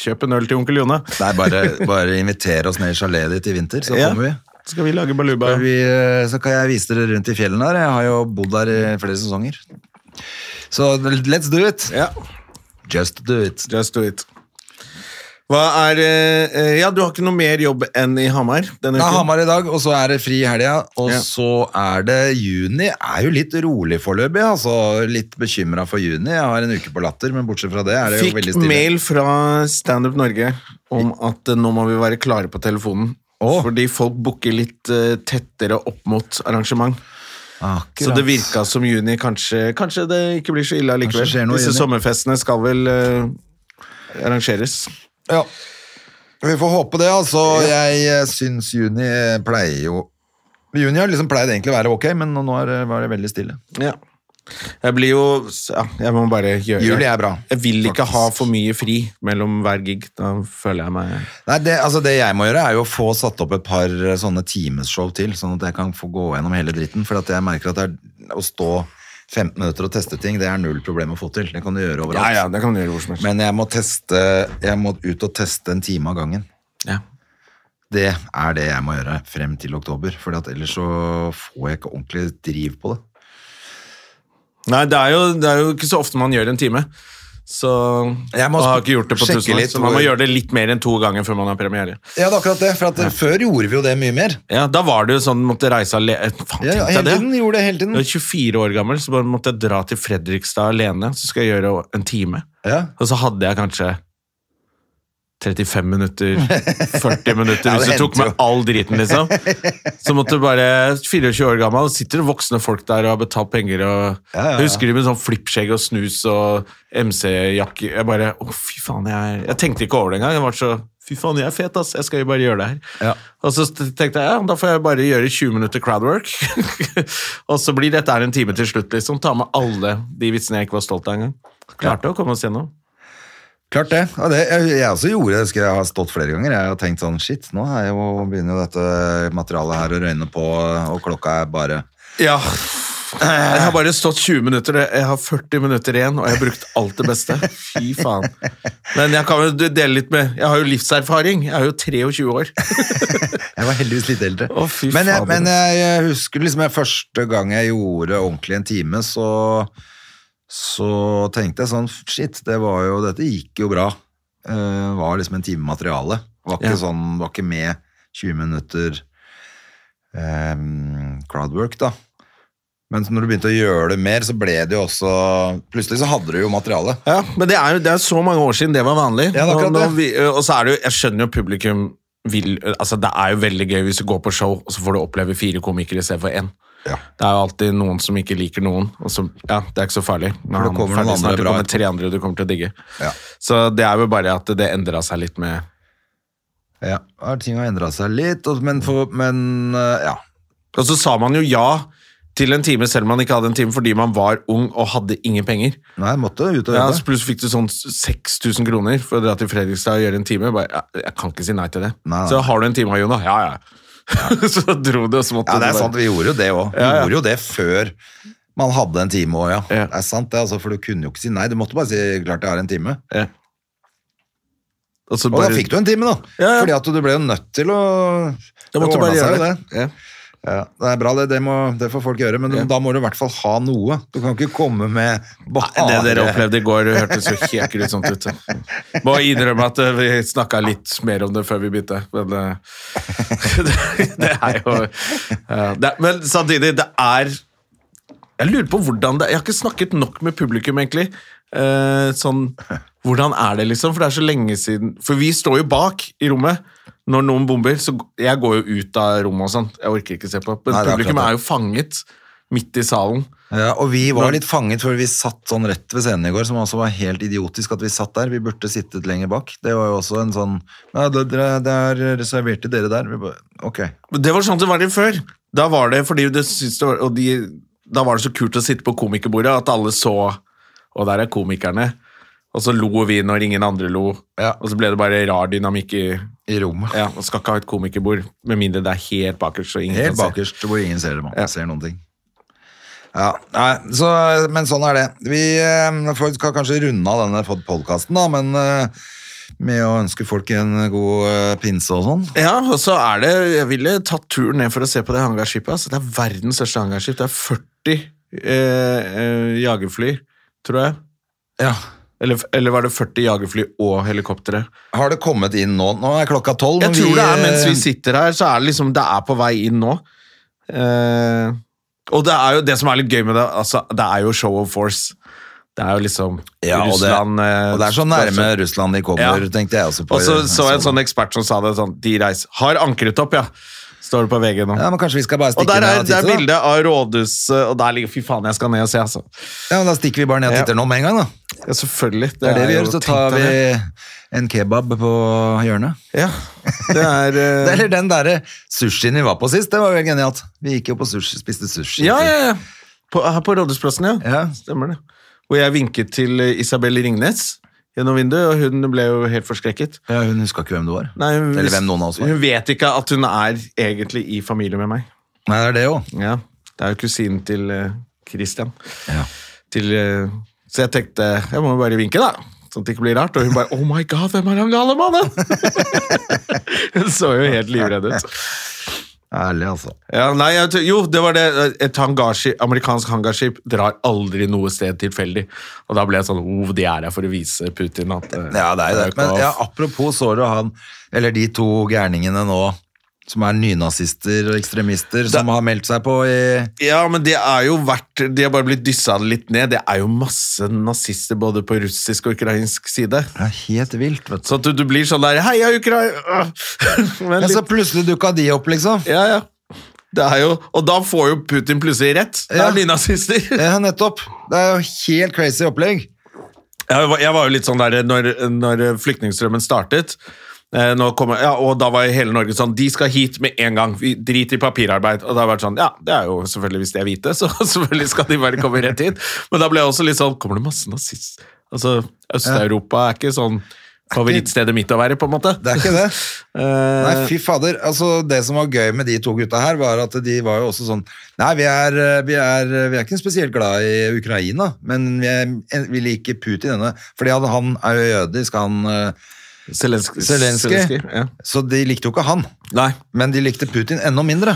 Speaker 1: kjøp en øl til onkel Jone.
Speaker 2: Nei, bare, bare inviter oss ned i chaletet ditt i vinter, så
Speaker 1: Ja.
Speaker 2: kommer vi.
Speaker 1: Så skal vi lage baluba.
Speaker 2: Skal vi, eh, så kan jeg vise dere rundt i fjellene her. Jeg har jo bodd der i flere sesonger. Så let's do it!
Speaker 1: Ja,
Speaker 2: Just do it.
Speaker 1: just do it. Hva er eh, eh, Ja, du har ikke noe mer jobb enn i Hamar denne
Speaker 2: Det er
Speaker 1: uken?
Speaker 2: Hamar i dag, og så er det fri i helga. Og
Speaker 1: Ja.
Speaker 2: så er det juni. Er jo litt rolig foreløpig. Altså, litt bekymra for juni. Jeg har en uke på latter, men bortsett fra det er det jo
Speaker 1: Fikk
Speaker 2: veldig stille.
Speaker 1: mail fra Standup Norge om at eh, nå må vi være klare på telefonen.
Speaker 2: Å.
Speaker 1: Fordi folk booker litt eh, tettere opp mot arrangement.
Speaker 2: Akkurat.
Speaker 1: Så det virka som juni kanskje Kanskje det ikke blir så ille allikevel.
Speaker 2: Kanskje skjer noe i
Speaker 1: Disse
Speaker 2: juni.
Speaker 1: sommerfestene skal vel eh, arrangeres.
Speaker 2: Ja. Vi får håpe det, altså. Jeg eh, syns juni eh, pleier jo Juni har liksom pleid egentlig å være ok, men nå- nå er det- var det veldig stille.
Speaker 1: Ja. Jeg blir jo ja, Jeg må bare gjøre
Speaker 2: Juli er bra,
Speaker 1: Jeg vil ikke
Speaker 2: faktisk.
Speaker 1: ha for mye fri mellom hver gig. Da føler jeg meg
Speaker 2: Nei, det, altså det jeg må gjøre er jo å få satt opp et par eh, sånne timeshow til, sånn at jeg kan få gå gjennom hele dritten, for at jeg merker at det er å stå 15 minutter og teste ting, det er null problem å få til. Det kan du gjøre overalt.
Speaker 1: Ja, ja, det kan du gjøre hvor som helst.
Speaker 2: Men jeg må teste, jeg må ut og teste en time av gangen.
Speaker 1: Ja.
Speaker 2: Det er det jeg må gjøre frem til oktober, for ellers så får jeg ikke ordentlig driv på det.
Speaker 1: Nei, det er, jo, det er jo ikke så ofte man gjør en time. Så
Speaker 2: Jeg må
Speaker 1: og har
Speaker 2: sp-
Speaker 1: ikke gjort det på
Speaker 2: sjekke
Speaker 1: tusen år,
Speaker 2: litt
Speaker 1: så man må
Speaker 2: hvor-
Speaker 1: gjøre det litt mer enn to ganger før man har premiere.
Speaker 2: Ja, det er akkurat det, for at før gjorde vi jo det mye mer.
Speaker 1: Ja, Da var det jo sånn måtte reise alene Faen,
Speaker 2: Ja, ja,
Speaker 1: tenkte jeg
Speaker 2: hele
Speaker 1: det.
Speaker 2: tiden gjorde det hele
Speaker 1: Jeg
Speaker 2: tiden.
Speaker 1: var 24 år gammel, så bare måtte jeg dra til Fredrikstad alene. Så skal jeg gjøre en time.
Speaker 2: Ja.
Speaker 1: Og så hadde jeg kanskje 35 minutter, 40 minutter,
Speaker 2: *laughs* Ja, det
Speaker 1: hvis du tok
Speaker 2: hendte
Speaker 1: med
Speaker 2: jo.
Speaker 1: all driten, liksom.
Speaker 2: *laughs*
Speaker 1: Så måtte du bare 24 år gammel, sitter det voksne folk der og har betalt penger og
Speaker 2: Ja, ja, ja.
Speaker 1: Jeg husker de med sånn flippskjegg og snus og MC-jakke. Jeg bare Å, fy faen, jeg er Jeg tenkte ikke over det engang. Jeg var så Fy faen, jeg er fet, ass. Jeg skal jo bare gjøre det her.
Speaker 2: Ja.
Speaker 1: Og så tenkte jeg ja, da får jeg bare gjøre 20 minutter crowdwork. *laughs* og så blir dette her en time til slutt, liksom. Ta med alle de vitsene jeg ikke var stolt av engang. Klarte å komme oss gjennom.
Speaker 2: Klart det. Ja, det jeg, jeg også gjorde det, husker jeg har stått flere ganger. Jeg har tenkt sånn, shit, nå er jo, begynner jo dette materialet her å røyne på, og klokka er bare
Speaker 1: Ja, Jeg har bare stått 20 minutter, jeg har 40 minutter igjen, og jeg har brukt alt det beste. Fy faen. Men jeg kan jo dele litt med Jeg har jo livserfaring. Jeg er jo 23 år.
Speaker 2: Jeg var heldigvis litt eldre.
Speaker 1: Å, fy
Speaker 2: men jeg,
Speaker 1: fader.
Speaker 2: men jeg, jeg husker liksom jeg, første gang jeg gjorde ordentlig en time, så, så tenkte jeg sånn Shit, det var jo, dette gikk jo bra. Uh, var liksom en time materiale. Var ikke
Speaker 1: Ja.
Speaker 2: sånn, var ikke med 20 minutter eh, crowdwork, da. Men så når du begynte å gjøre det mer, så ble det jo også Plutselig så hadde du jo materiale.
Speaker 1: Ja, Men det er jo det er så mange år siden det var vanlig.
Speaker 2: Ja, det er akkurat
Speaker 1: Nå- nå
Speaker 2: det.
Speaker 1: vi, og så er det jo Jeg skjønner jo publikum vil Altså, det er jo veldig gøy hvis du går på show, og så får du oppleve fire komikere istedenfor én.
Speaker 2: Ja.
Speaker 1: Det er jo alltid noen som ikke liker noen. Og så, ja, Det er ikke så farlig. Men
Speaker 2: det
Speaker 1: han
Speaker 2: kommer
Speaker 1: er ferdig
Speaker 2: noen andre
Speaker 1: snart, det
Speaker 2: bra
Speaker 1: kommer
Speaker 2: etterpå.
Speaker 1: tre andre du kommer til å digge.
Speaker 2: Ja.
Speaker 1: Så det er jo bare at det endra seg litt med
Speaker 2: Ja, ja, Ting har endra seg litt, og- men, for, men eh, ja.
Speaker 1: Og så sa man jo ja til en time selv om man ikke hadde en time, fordi man var ung og hadde ingen penger.
Speaker 2: Nei, jeg måtte ut og
Speaker 1: Ja,
Speaker 2: jobbe.
Speaker 1: så Plutselig fikk du sånn 6000 kroner for å dra til Fredrikstad og gjøre en time. Bare, ja, jeg kan ikke si nei til det.
Speaker 2: Nei, nei.
Speaker 1: Så har du en time, Jona? Ja, ja. *laughs* så dro du, og så måtte
Speaker 2: Ja,
Speaker 1: du
Speaker 2: det er
Speaker 1: bare-
Speaker 2: sant, vi gjorde jo det òg. Vi
Speaker 1: Ja, ja.
Speaker 2: gjorde jo det før man hadde en time òg, ja.
Speaker 1: Ja.
Speaker 2: Det er sant det, altså, for du kunne jo ikke si nei. Du måtte bare si 'klart jeg har en time'.
Speaker 1: Ja. Og, så
Speaker 2: Og
Speaker 1: bare,
Speaker 2: da fikk du en time, da!
Speaker 1: Ja, ja.
Speaker 2: Fordi at du ble jo nødt til å
Speaker 1: Jeg måtte bare
Speaker 2: ordnet
Speaker 1: gjøre
Speaker 2: seg jo
Speaker 1: det. Ja.
Speaker 2: Ja, det er bra, det. Det, må, det får folk gjøre, men du- da må du i hvert fall ha noe. Du kan ikke komme med
Speaker 1: Nei, det dere opplevde i går, hørtes jo helt grusomt ut. Må innrømme at eh, vi snakka litt mer om det før vi begynte, men eh, *laughs* det, det er jo eh, det, er- Men samtidig, det er Jeg lurer på hvordan det Jeg har ikke snakket nok med publikum, egentlig. Eh, sånn Hvordan er det, liksom? For det er så lenge siden For vi står jo bak i rommet. Når noen bomber, så g- Jeg går jo ut av rommet og sånn. Jeg orker ikke se på. Men
Speaker 2: Nei, det er
Speaker 1: publikum
Speaker 2: akkurat
Speaker 1: er jo fanget midt i salen.
Speaker 2: Ja, og vi var litt fanget, for vi satt sånn rett ved scenen i går, som også var helt idiotisk at vi satt der. Vi burde sittet lenger bak. Det var jo også en sånn Nei, det, det- det er reservert til dere der. Vi bare, ok.
Speaker 1: Det var sånn det var det før. Da var det fordi det syntes det var, og de, da var det så kult å sitte på komikerbordet at alle så Og der er komikerne. Og så lo vi når ingen andre lo.
Speaker 2: Ja.
Speaker 1: Og så ble det bare rar dynamikk i
Speaker 2: I rommet.
Speaker 1: Ja, Man skal ikke ha et komikerbord med mindre det er helt bakerst. Og ingen
Speaker 2: Helt
Speaker 1: kan se.
Speaker 2: bakerst hvor ingen ser, det, man.
Speaker 1: Ja.
Speaker 2: ser noen ting. Ja, nei, så, Men sånn er det. Vi eh, får- skal kanskje runde av denne podkasten, da, men eh, med å ønske folk en god eh, pinse og sånn.
Speaker 1: Ja, og så er det Jeg ville tatt turen ned for å se på det hangarskipet. Altså. Det er verdens største hangarskip. Det er 40 eh, eh, jagerfly, tror jeg. Eller, eller var det 40 jagerfly og helikoptre?
Speaker 2: Har det kommet inn nå? Nå er klokka tolv. men
Speaker 1: Jeg tror det er mens vi
Speaker 2: eh,
Speaker 1: sitter her, så er det liksom Det er på vei inn nå. Eh, og det er jo det som er litt gøy med det, altså, det er jo show of force. Det er jo liksom
Speaker 2: ja, og det,
Speaker 1: Russland eh,
Speaker 2: og det er så nærme Russland de kommer,
Speaker 1: Ja.
Speaker 2: tenkte jeg også på.
Speaker 1: Og så så jeg en sånn ekspert som sa det sånn De reiser Har ankret opp, ja. Står det på VG nå.
Speaker 2: Ja, men Kanskje vi skal bare
Speaker 1: og
Speaker 2: stikke
Speaker 1: der
Speaker 2: ned
Speaker 1: er,
Speaker 2: og
Speaker 1: det er
Speaker 2: titte, da?
Speaker 1: bilde av rådhuset, og der ligger Fy faen, jeg skal ned og se, altså.
Speaker 2: Ja, men Da stikker vi bare ned og
Speaker 1: Ja.
Speaker 2: titter nå med en gang, da.
Speaker 1: Ja, selvfølgelig.
Speaker 2: Det er det
Speaker 1: jo
Speaker 2: vi gjør. Så
Speaker 1: tenkt av
Speaker 2: tar vi
Speaker 1: det.
Speaker 2: en kebab på hjørnet.
Speaker 1: Ja. Det
Speaker 2: *laughs*
Speaker 1: er eh,
Speaker 2: Eller den derre sushien vi var på sist, det var jo helt genialt. Vi gikk jo på sushi, spiste sushi.
Speaker 1: Ja, ja, ja. På, her på Rådhusplassen, ja.
Speaker 2: Ja.
Speaker 1: Stemmer det. Hvor jeg vinket til eh, Isabel Ringnes gjennom vinduet, og hun ble jo helt forskrekket.
Speaker 2: Ja, hun huska ikke hvem du var.
Speaker 1: Nei, hun,
Speaker 2: Eller
Speaker 1: vis-
Speaker 2: hvem noen av oss var.
Speaker 1: Hun vet ikke at hun er egentlig i familie med meg.
Speaker 2: Nei, det er det jo.
Speaker 1: Ja, Det er jo kusinen til eh, Christian.
Speaker 2: Ja.
Speaker 1: Til, eh, så jeg tenkte jeg må jo bare vinke, da. Sånn at det ikke blir rart. Og hun bare 'Oh my God, hvem er han gale mannen?' *laughs* hun så jo helt livredd ut.
Speaker 2: Ærlig, altså.
Speaker 1: Ja, nei, jeg, tror- jo, det var det. Et hangarskip, amerikansk hangarskip drar aldri noe sted tilfeldig. Og da ble jeg sånn oh, De er her for å vise Putin at eh,
Speaker 2: Ja, det er jo det.
Speaker 1: ikke
Speaker 2: Men
Speaker 1: noe-
Speaker 2: ja, apropos så du han, eller de to gærningene nå, som er nynazister og ekstremister, som har meldt seg på i
Speaker 1: ja, men det er jo vært De har bare blitt dyssa litt ned. Det er jo masse nazister både på russisk og ukrainsk side.
Speaker 2: Det er helt vilt, vet du.
Speaker 1: Så at du, du blir sånn der Heia Ukraina! *laughs* Men
Speaker 2: Ja, så
Speaker 1: litt,
Speaker 2: plutselig dukka de opp, liksom.
Speaker 1: ja, ja. Det er jo, og da får jo Putin plutselig rett. Det
Speaker 2: Ja.
Speaker 1: er nynazister.
Speaker 2: Ja, nettopp. Det er jo helt crazy opplegg.
Speaker 1: Jeg var, jeg var jo litt sånn der når, når flyktningstrømmen startet. Eh, nå kommer, ja, og da var hele Norge sånn De skal hit med en gang. Vi drit i papirarbeid. Og da har det vært sånn Ja, det er jo selvfølgelig hvis de er hvite, så *laughs* selvfølgelig skal de bare komme rett hit. Men da ble jeg også litt sånn Kommer det masse nazist... Altså, Øst-Europa er ikke sånn favorittstedet mitt å være, på en måte.
Speaker 2: Det er ikke det. *laughs*
Speaker 1: Eh,
Speaker 2: Nei, fy fader. Altså, det som var gøy med de to gutta her, var at de var jo også sånn Nei, vi er, vi er, vi er ikke spesielt glad i Ukraina, men vi, er, vi liker Putin ennå. Fordi han- han er jo jødisk, han eh,
Speaker 1: Zelenskyj.
Speaker 2: Zelenskyj.
Speaker 1: Zelenskyj, ja.
Speaker 2: Så de likte jo ikke han.
Speaker 1: Nei.
Speaker 2: Men de likte Putin enda mindre.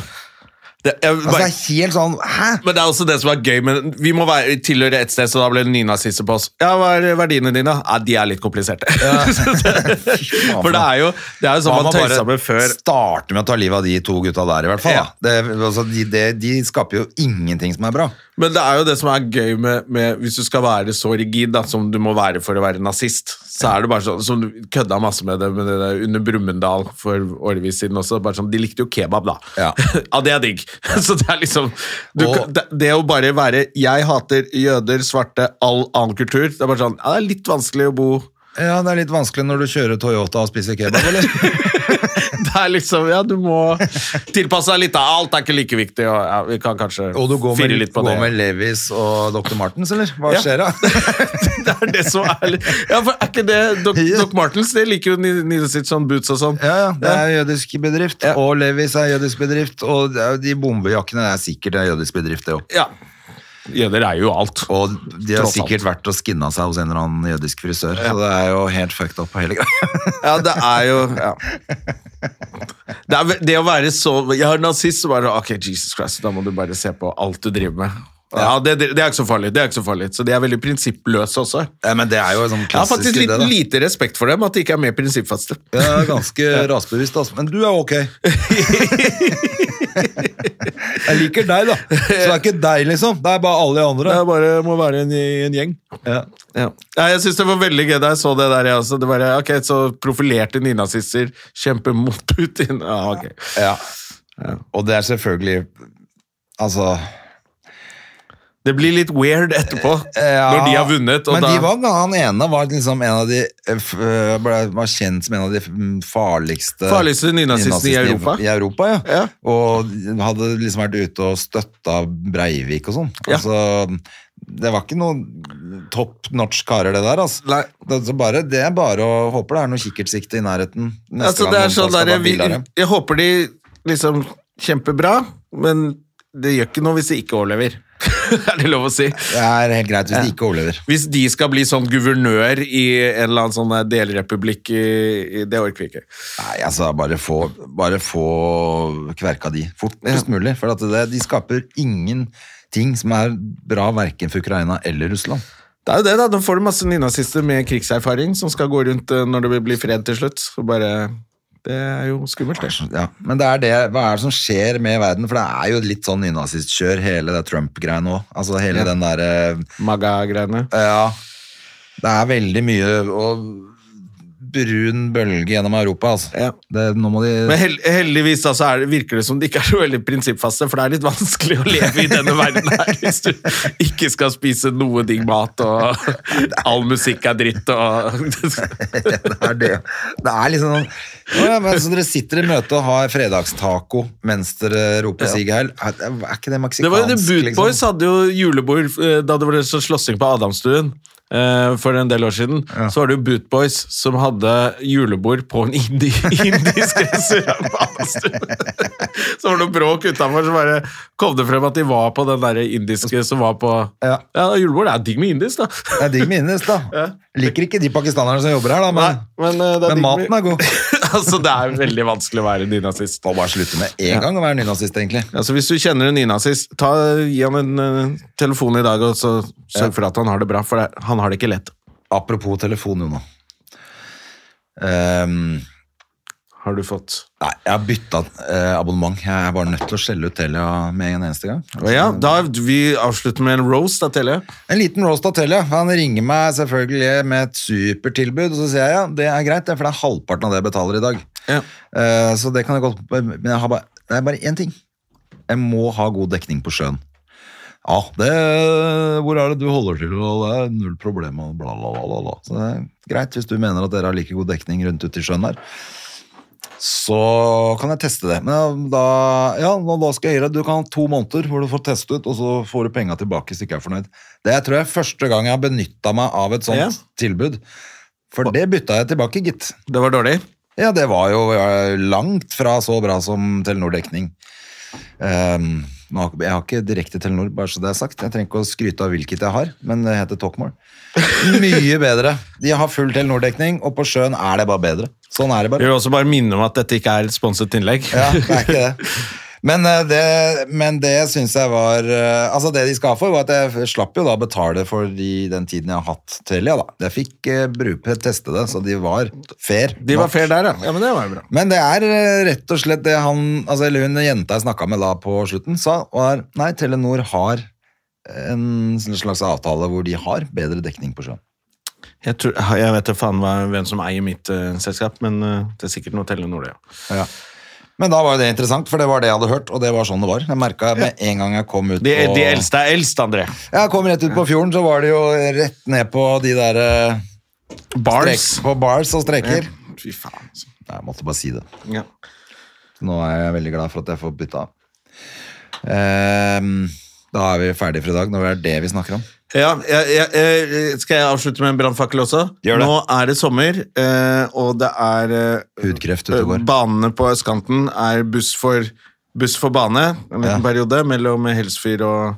Speaker 1: Det, jeg,
Speaker 2: Altså, det
Speaker 1: bare,
Speaker 2: er helt sånn Hæ?
Speaker 1: *laughs* men det er også det som er gøy. Men vi må være, tilhøre et sted, så da ble det nynazister på oss. Ja, hva er verdiene dine? da? Ja, de er litt kompliserte. *laughs* For det er jo, det er jo sånn man
Speaker 2: Man må
Speaker 1: tøysa
Speaker 2: bare
Speaker 1: med før.
Speaker 2: starte med å ta livet av de to gutta der, i hvert fall.
Speaker 1: Ja.
Speaker 2: Da. Det, altså, de, det, de skaper jo ingenting som er bra.
Speaker 1: Men det er jo det som er gøy med, med Hvis du skal være så rigid da, som du må være for å være nazist, så er det bare sånn som du kødda masse med det, med det der under Brumunddal for årevis siden også. bare sånn, De likte jo kebab, da. *laughs*
Speaker 2: Ja.
Speaker 1: det er digg. Så det er liksom du,
Speaker 2: Og-
Speaker 1: kan- det, det å bare være Jeg hater jøder, svarte, all annen kultur. Det er bare sånn ja, Det er litt vanskelig å bo *laughs*
Speaker 2: Ja, det er litt vanskelig når du kjører Toyota og spiser kebab, eller? *laughs*
Speaker 1: Det er liksom Ja, du må tilpasse deg litt. da. Alt er ikke like viktig, og ja, vi kan kanskje
Speaker 2: Og du går med,
Speaker 1: fire litt på
Speaker 2: går
Speaker 1: det.
Speaker 2: med Levis og Dr. Martens, eller? Hva
Speaker 1: Ja.
Speaker 2: skjer da?
Speaker 1: *laughs* det er det som er litt- Ja, for er ikke det Doc,
Speaker 2: Ja.
Speaker 1: Doc Martens, det liker jo Ni- Nina sitt sånn boots og sånn.
Speaker 2: Ja, ja, det er jødisk bedrift,
Speaker 1: Ja.
Speaker 2: og Levis er jødisk bedrift, og det er jo de bombejakkene er sikkert en jødisk bedrift, det også.
Speaker 1: Ja. Jøder er jo alt.
Speaker 2: Og de har
Speaker 1: Tross alt.
Speaker 2: sikkert vært og skinnet seg hos en eller annen jødisk frisør, så det er jo helt fucked up på hele greia. *laughs*
Speaker 1: Ja, det er jo ja. det, er, ve- det å være så Jeg er nazist, så bare Ok, Jesus Christ, da må du bare se på alt du driver med. Ja, det, det, det er ikke så farlig. det er ikke Så farlig Så de er veldig prinsippløse også.
Speaker 2: Ja, men det er jo sånn
Speaker 1: Jeg har
Speaker 2: klassisk
Speaker 1: faktisk
Speaker 2: i
Speaker 1: litt,
Speaker 2: det, da.
Speaker 1: lite respekt for dem, at de ikke er mer prinsippfaste.
Speaker 2: Ja, ganske rasbevisst, altså. Men du
Speaker 1: *laughs*
Speaker 2: er ok. Jeg liker deg, da. Så det er ikke deg, liksom. Det er bare alle de
Speaker 1: Det
Speaker 2: andre.
Speaker 1: er bare må være en, en gjeng.
Speaker 2: Ja.
Speaker 1: Ja. Nei, jeg syns det var veldig gøy da jeg så det der. Jeg også. Det bare, ok, Så profilerte nynazister kjemper mot Putin. Ja, ok.
Speaker 2: Ja. Og det er selvfølgelig Altså
Speaker 1: Det blir litt weird etterpå,
Speaker 2: ja,
Speaker 1: når de har vunnet. Og
Speaker 2: Men
Speaker 1: da,
Speaker 2: de var, han ene var liksom en av de eh, f- eh, ble, Var kjent som en av de mm, farligste
Speaker 1: Farligste nynazistene i Europa.
Speaker 2: I Europa ja.
Speaker 1: Ja.
Speaker 2: Og hadde liksom vært ute og støtta Breivik og sånn.
Speaker 1: Ja.
Speaker 2: Altså, det var ikke noen topp norsk karer, det der. Altså.
Speaker 1: Nei.
Speaker 2: Det, så bare, det er bare å håper det er noe kikkertsikte i nærheten. Neste
Speaker 1: altså,
Speaker 2: gang
Speaker 1: det
Speaker 2: noen
Speaker 1: er sånn
Speaker 2: skal ta
Speaker 1: der, vi,
Speaker 2: bilder av dem.
Speaker 1: jeg håper de liksom kjemper bra, men det gjør ikke noe hvis de ikke overlever. *laughs* er det lov å si?
Speaker 2: Det er helt greit hvis de ikke overlever.
Speaker 1: Hvis de skal bli sånn guvernør i en eller annen sånn delrepublikk i, i Det orker vi ikke.
Speaker 2: Nei, altså bare få, bare få kverka de fortest mulig, for at det, de skaper ingenting som er bra verken for Ukraina eller Russland.
Speaker 1: Det er jo det, da. Da får du masse nynazister med krigserfaring som skal gå rundt eh, når det blir fred til slutt. Og bare, det er jo skummelt, det.
Speaker 2: Ja, men det er det, hva er det som skjer med verden? For det er jo litt sånn nynazistkjør, hele det Trump-greia nå. Altså hele den der eh,
Speaker 1: Maga-greiene.
Speaker 2: Ja. Det er veldig mye og brun bølge gjennom Europa, altså.
Speaker 1: Ja.
Speaker 2: Det, nå må de
Speaker 1: Men hel heldigvis da, så er det, virker det som de ikke er så veldig prinsippfaste, for det er litt vanskelig å leve i denne verden her hvis du ikke skal spise noe digg mat, og all musikk er dritt, og
Speaker 2: *laughs* det er det. Det er liksom sånn Å ja, men så Dere sitter i møte og har fredagstaco mens dere roper sig heil. Er, er ikke det meksikansk? liksom?
Speaker 1: Det var jo The Boot Boys hadde jo julebord eh, da det var sånn slåssing på Adamstuen. eh, For en del år siden Så var det jo Boot Boys som hadde julebord på en indi *laughs* indisk restaurant. på Adamstuen. så var det noe bråk utenfor, så bare kom det frem at de var på den der indiske som var på
Speaker 2: Ja.
Speaker 1: julebord er digg med indisk, da.
Speaker 2: Det er digg med indisk, da. Liker ikke de pakistanerne som jobber her, da, men,
Speaker 1: *laughs* men, eh, det digg
Speaker 2: men
Speaker 1: med-
Speaker 2: maten er god.
Speaker 1: *laughs* altså, det er veldig vanskelig å være nynazist.
Speaker 2: Må bare slutte med en gang å være nynazist, egentlig.
Speaker 1: Altså, hvis du kjenner en nynazist, ta- gi han en eh, telefon i dag og så sørg for at han har det bra, for det, han har det ikke lett.
Speaker 2: Apropos telefon, Jona. Ehm,
Speaker 1: Har du fått
Speaker 2: nei, jeg har bytta eh, abonnement. Jeg er bare nødt til å skjelle ut Telia med en eneste gang.
Speaker 1: Ja, da vi avslutter med en roast da, Telle.
Speaker 2: En liten roast av Telia. Han ringer meg selvfølgelig med et supertilbud, og så sier jeg ja, det er greit, det, for det er halvparten av det jeg betaler i dag.
Speaker 1: Ja.
Speaker 2: Eh, så det kan jeg godt Men jeg har bare, det er bare én ting. Jeg må ha god dekning på sjøen. Ja, det Hvor er det du holder til? Og det er null problem, og bla, bla, bla, bla, bla. Så det er greit hvis du mener at dere har like god dekning rundt ute i sjøen der. Så kan jeg teste det. Men eh, da, ja, nå- da skal jeg gi deg Du kan ha to måneder hvor du får teste ut, og så får du penga tilbake hvis du ikke er fornøyd. Det er, tror jeg første gang jeg har benytta meg av et sånt
Speaker 1: Ja.
Speaker 2: tilbud. For det bytta jeg tilbake, gitt.
Speaker 1: Det var dårlig.
Speaker 2: Ja, det var jo eh, langt fra så bra som Telenor-dekning. Ehm, nå har- jeg har ikke direkte Telenor, bare så det er sagt. Jeg trenger ikke å skryte av hvilket jeg har, men det
Speaker 1: *laughs*
Speaker 2: heter Talkmore. Mye bedre. De har full Telenor-dekning, og på sjøen er det bare bedre. Sånn er det
Speaker 1: Jeg
Speaker 2: bare.
Speaker 1: vil også bare minne om at dette ikke er et sponset innlegg.
Speaker 2: Ja, det er ikke det. Men eh, det, men det syns jeg var eh, Altså, det de skal ha for, var at jeg slapp jo da å betale for de, den tiden jeg har hatt Telia, da. Jeg fikk eh, bruke, teste det, så de var fair.
Speaker 1: *laughs* De var
Speaker 2: nok.
Speaker 1: fair der, ja. ja men det var jo bra.
Speaker 2: Men det er eh, rett og slett det han, altså, eller hun jenta jeg snakka med da på slutten, sa, var nei, Telenor har en sånn slags avtale hvor de har bedre dekning på sjøen.
Speaker 1: Jeg, tror, jeg vet da faen hva, hvem som eier mitt eh, selskap, men eh, det er sikkert noe Telenor, det. Ja.
Speaker 2: Men da var jo det interessant, for det var det jeg hadde hørt, og det var sånn det var. Jeg merka med en gang jeg kom ut
Speaker 1: De,
Speaker 2: på
Speaker 1: de eldste er eldst, André.
Speaker 2: Jeg kom rett ut på fjorden, så var det jo rett ned på de der eh,
Speaker 1: Bars.
Speaker 2: strek- på bars og streker.
Speaker 1: Fy faen. altså.
Speaker 2: Jeg måtte bare si det.
Speaker 1: Ja.
Speaker 2: Nå er jeg veldig glad for at jeg får bytta av. Ehm, da er vi ferdige for i dag. Nå er det det vi snakker om.
Speaker 1: Ja, jeg, jeg, jeg, skal jeg avslutte med en brannfakkel også?
Speaker 2: Gjør det.
Speaker 1: Nå er det sommer, eh, og det er eh,
Speaker 2: Hudkreft ute og går.
Speaker 1: Banene på østkanten er buss for, buss for bane en liten
Speaker 2: Ja.
Speaker 1: periode mellom Helsfyr og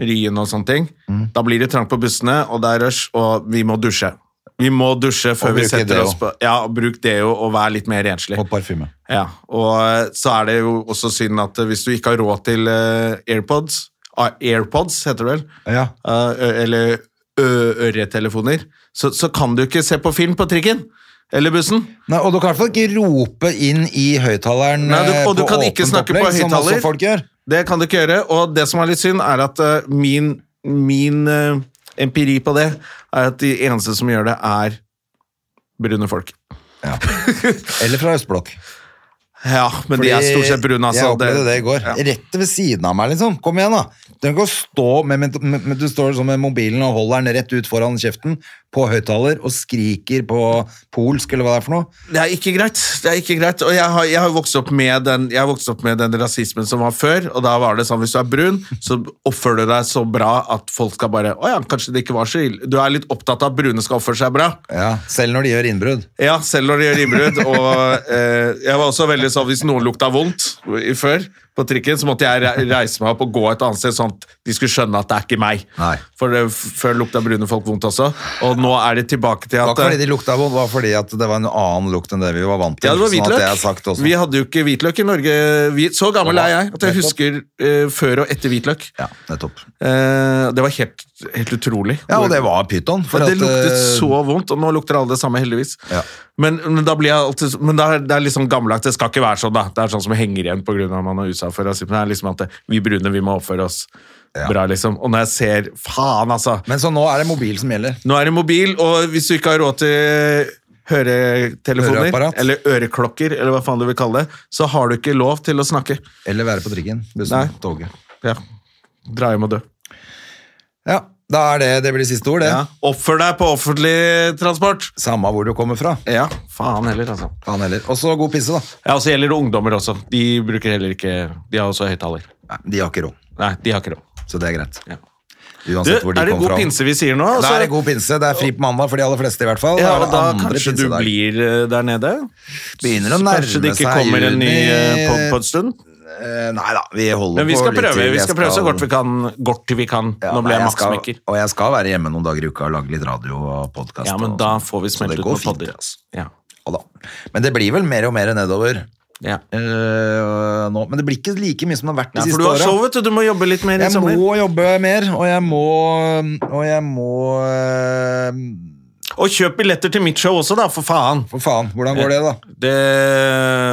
Speaker 1: Ryen og sånne ting.
Speaker 2: Mm.
Speaker 1: Da blir det trangt på bussene, og det er rush, og vi må dusje. Vi må dusje før
Speaker 2: Og
Speaker 1: vi
Speaker 2: bruke
Speaker 1: setter
Speaker 2: deo.
Speaker 1: oss på Ja, og bruk deo og vær litt mer renslig.
Speaker 2: Og parfyme.
Speaker 1: Ja, og eh, så er det jo også synd at eh, hvis du ikke har råd til eh, AirPods ah, AirPods heter det vel?
Speaker 2: Ja.
Speaker 1: Eh, ø- eller ø- øretelefoner, så, så kan du ikke se på film på trikken eller bussen.
Speaker 2: Nei, og du kan i hvert fall ikke rope inn i høyttaleren
Speaker 1: Nei, du-
Speaker 2: eh,
Speaker 1: og du kan ikke
Speaker 2: åpent
Speaker 1: snakke på
Speaker 2: opplegg, som
Speaker 1: høyttaler.
Speaker 2: også folk gjør.
Speaker 1: Det kan du ikke gjøre, og det som er litt synd, er at eh, min, min eh, empiri på det er at de eneste som gjør det, er brune folk.
Speaker 2: Eller fra Østblokk.
Speaker 1: Ja, men de er stort sett brune, altså.
Speaker 2: Jeg opplevde det, i går. Rett ved siden av meg, liksom. Kom igjen, da. Du kan ikke stå med, med, med, du står sånn med mobilen og holder den rett ut foran kjeften på høyttaler og skriker på polsk eller hva det er for noe.
Speaker 1: Det er ikke greit. det er ikke greit, Og jeg har, jeg har vokst opp med den jeg har vokst opp med den rasismen som var før. og da var det sånn, Hvis du er brun, så oppfører du deg så bra at folk skal bare Å ja, kanskje det ikke var så ille. Du er litt opptatt av at brune skal oppføre seg bra.
Speaker 2: Ja, selv når de gjør innbrudd.
Speaker 1: Ja, selv når de gjør innbrudd. Og eh, jeg var også veldig sånn hvis noen lukta vondt i- før på trikken, så måtte jeg re- reise meg opp og gå et annet sted, sånn at de skulle skjønne at det er ikke meg.
Speaker 2: Nei.
Speaker 1: For det, f- før lukta brune folk vondt også. Og nå er det tilbake til
Speaker 2: Det var
Speaker 1: at eh,
Speaker 2: ikke fordi de lukta vondt, det var fordi at det var en annen lukt enn det vi var vant til.
Speaker 1: ja, det var
Speaker 2: sånn at jeg har
Speaker 1: hvitløk.
Speaker 2: sagt også.
Speaker 1: Vi hadde jo ikke hvitløk i Norge. Vi, så gammel er jeg at jeg husker eh, før og etter hvitløk.
Speaker 2: Ja, nettopp.
Speaker 1: Eh, det var helt, helt utrolig.
Speaker 2: Ja, og det var pyton. for
Speaker 1: Men det
Speaker 2: at,
Speaker 1: luktet
Speaker 2: eh,
Speaker 1: så vondt, og nå lukter alle det samme, heldigvis.
Speaker 2: Ja.
Speaker 1: Men, men da blir jeg alltid Men det er, det er liksom gammeldags. Det skal ikke være sånn, da. Det er sånn som henger igjen pga. at man er USA for rasisme. Det er liksom at det, vi brune, vi må oppføre oss bra, liksom. Og når jeg ser Faen, altså!
Speaker 2: Men så nå er det mobil som gjelder.
Speaker 1: Nå er det mobil, og hvis du ikke har råd til høretelefoner,
Speaker 2: Høreapparat.
Speaker 1: eller øreklokker, eller hva faen du vil kalle det, så har du ikke lov til å snakke.
Speaker 2: Eller være på trikken.
Speaker 1: Nei.
Speaker 2: Bussen, toget.
Speaker 1: Ja. Dra hjem og dø.
Speaker 2: Ja, da er det det blir siste ord, det.
Speaker 1: Ja. Oppfør deg på offentlig transport!
Speaker 2: Samme hvor du kommer fra.
Speaker 1: Ja, faen heller, altså.
Speaker 2: Faen heller. Og så god pisse, da.
Speaker 1: Ja, og så gjelder det ungdommer også. De bruker heller ikke De har også høyttaler.
Speaker 2: Nei, de har ikke råd,
Speaker 1: Nei, de har ikke råd.
Speaker 2: så det er greit.
Speaker 1: Ja. Du,
Speaker 2: Uansett hvor de
Speaker 1: er det
Speaker 2: kom
Speaker 1: god
Speaker 2: fra.
Speaker 1: pinse vi sier nå?
Speaker 2: Da
Speaker 1: Så-
Speaker 2: er det god pinse. Det er fri på mandag for de aller fleste, i hvert fall.
Speaker 1: Ja,
Speaker 2: er
Speaker 1: og
Speaker 2: det
Speaker 1: da
Speaker 2: andre
Speaker 1: kanskje du
Speaker 2: pinsedag.
Speaker 1: blir eh, der nede?
Speaker 2: Begynner å
Speaker 1: Kanskje det ikke
Speaker 2: nærme seg
Speaker 1: kommer en ny eh,
Speaker 2: juni.
Speaker 1: pod på en stund?
Speaker 2: Eh, Nei da, vi holder
Speaker 1: Men vi
Speaker 2: på
Speaker 1: skal
Speaker 2: litt
Speaker 1: prøve,
Speaker 2: til.
Speaker 1: vi
Speaker 2: Jeg
Speaker 1: skal prøve så godt vi kan. Godt til vi kan.
Speaker 2: Ja,
Speaker 1: Nå
Speaker 2: nei,
Speaker 1: ble jeg
Speaker 2: skal-
Speaker 1: maksmaker.
Speaker 2: Og jeg skal være hjemme noen dager i uka og lage litt radio og podkast.
Speaker 1: Ja, men da får vi smelt ut
Speaker 2: går
Speaker 1: med
Speaker 2: fint,
Speaker 1: podder.
Speaker 2: altså.
Speaker 1: Ja.
Speaker 2: Ja da. Men det blir vel mer og mer nedover
Speaker 1: Ja.
Speaker 2: eh, nå. Men det blir ikke like mye som det har vært de
Speaker 1: ja, for
Speaker 2: siste
Speaker 1: du har
Speaker 2: åra.
Speaker 1: show, vet du. Du må jobbe litt mer i
Speaker 2: Jeg
Speaker 1: sommer.
Speaker 2: må jobbe mer, og jeg må Og jeg må eh,
Speaker 1: Og kjøp billetter til mitt show også, da, for faen.
Speaker 2: For faen, hvordan går det, da?
Speaker 1: Det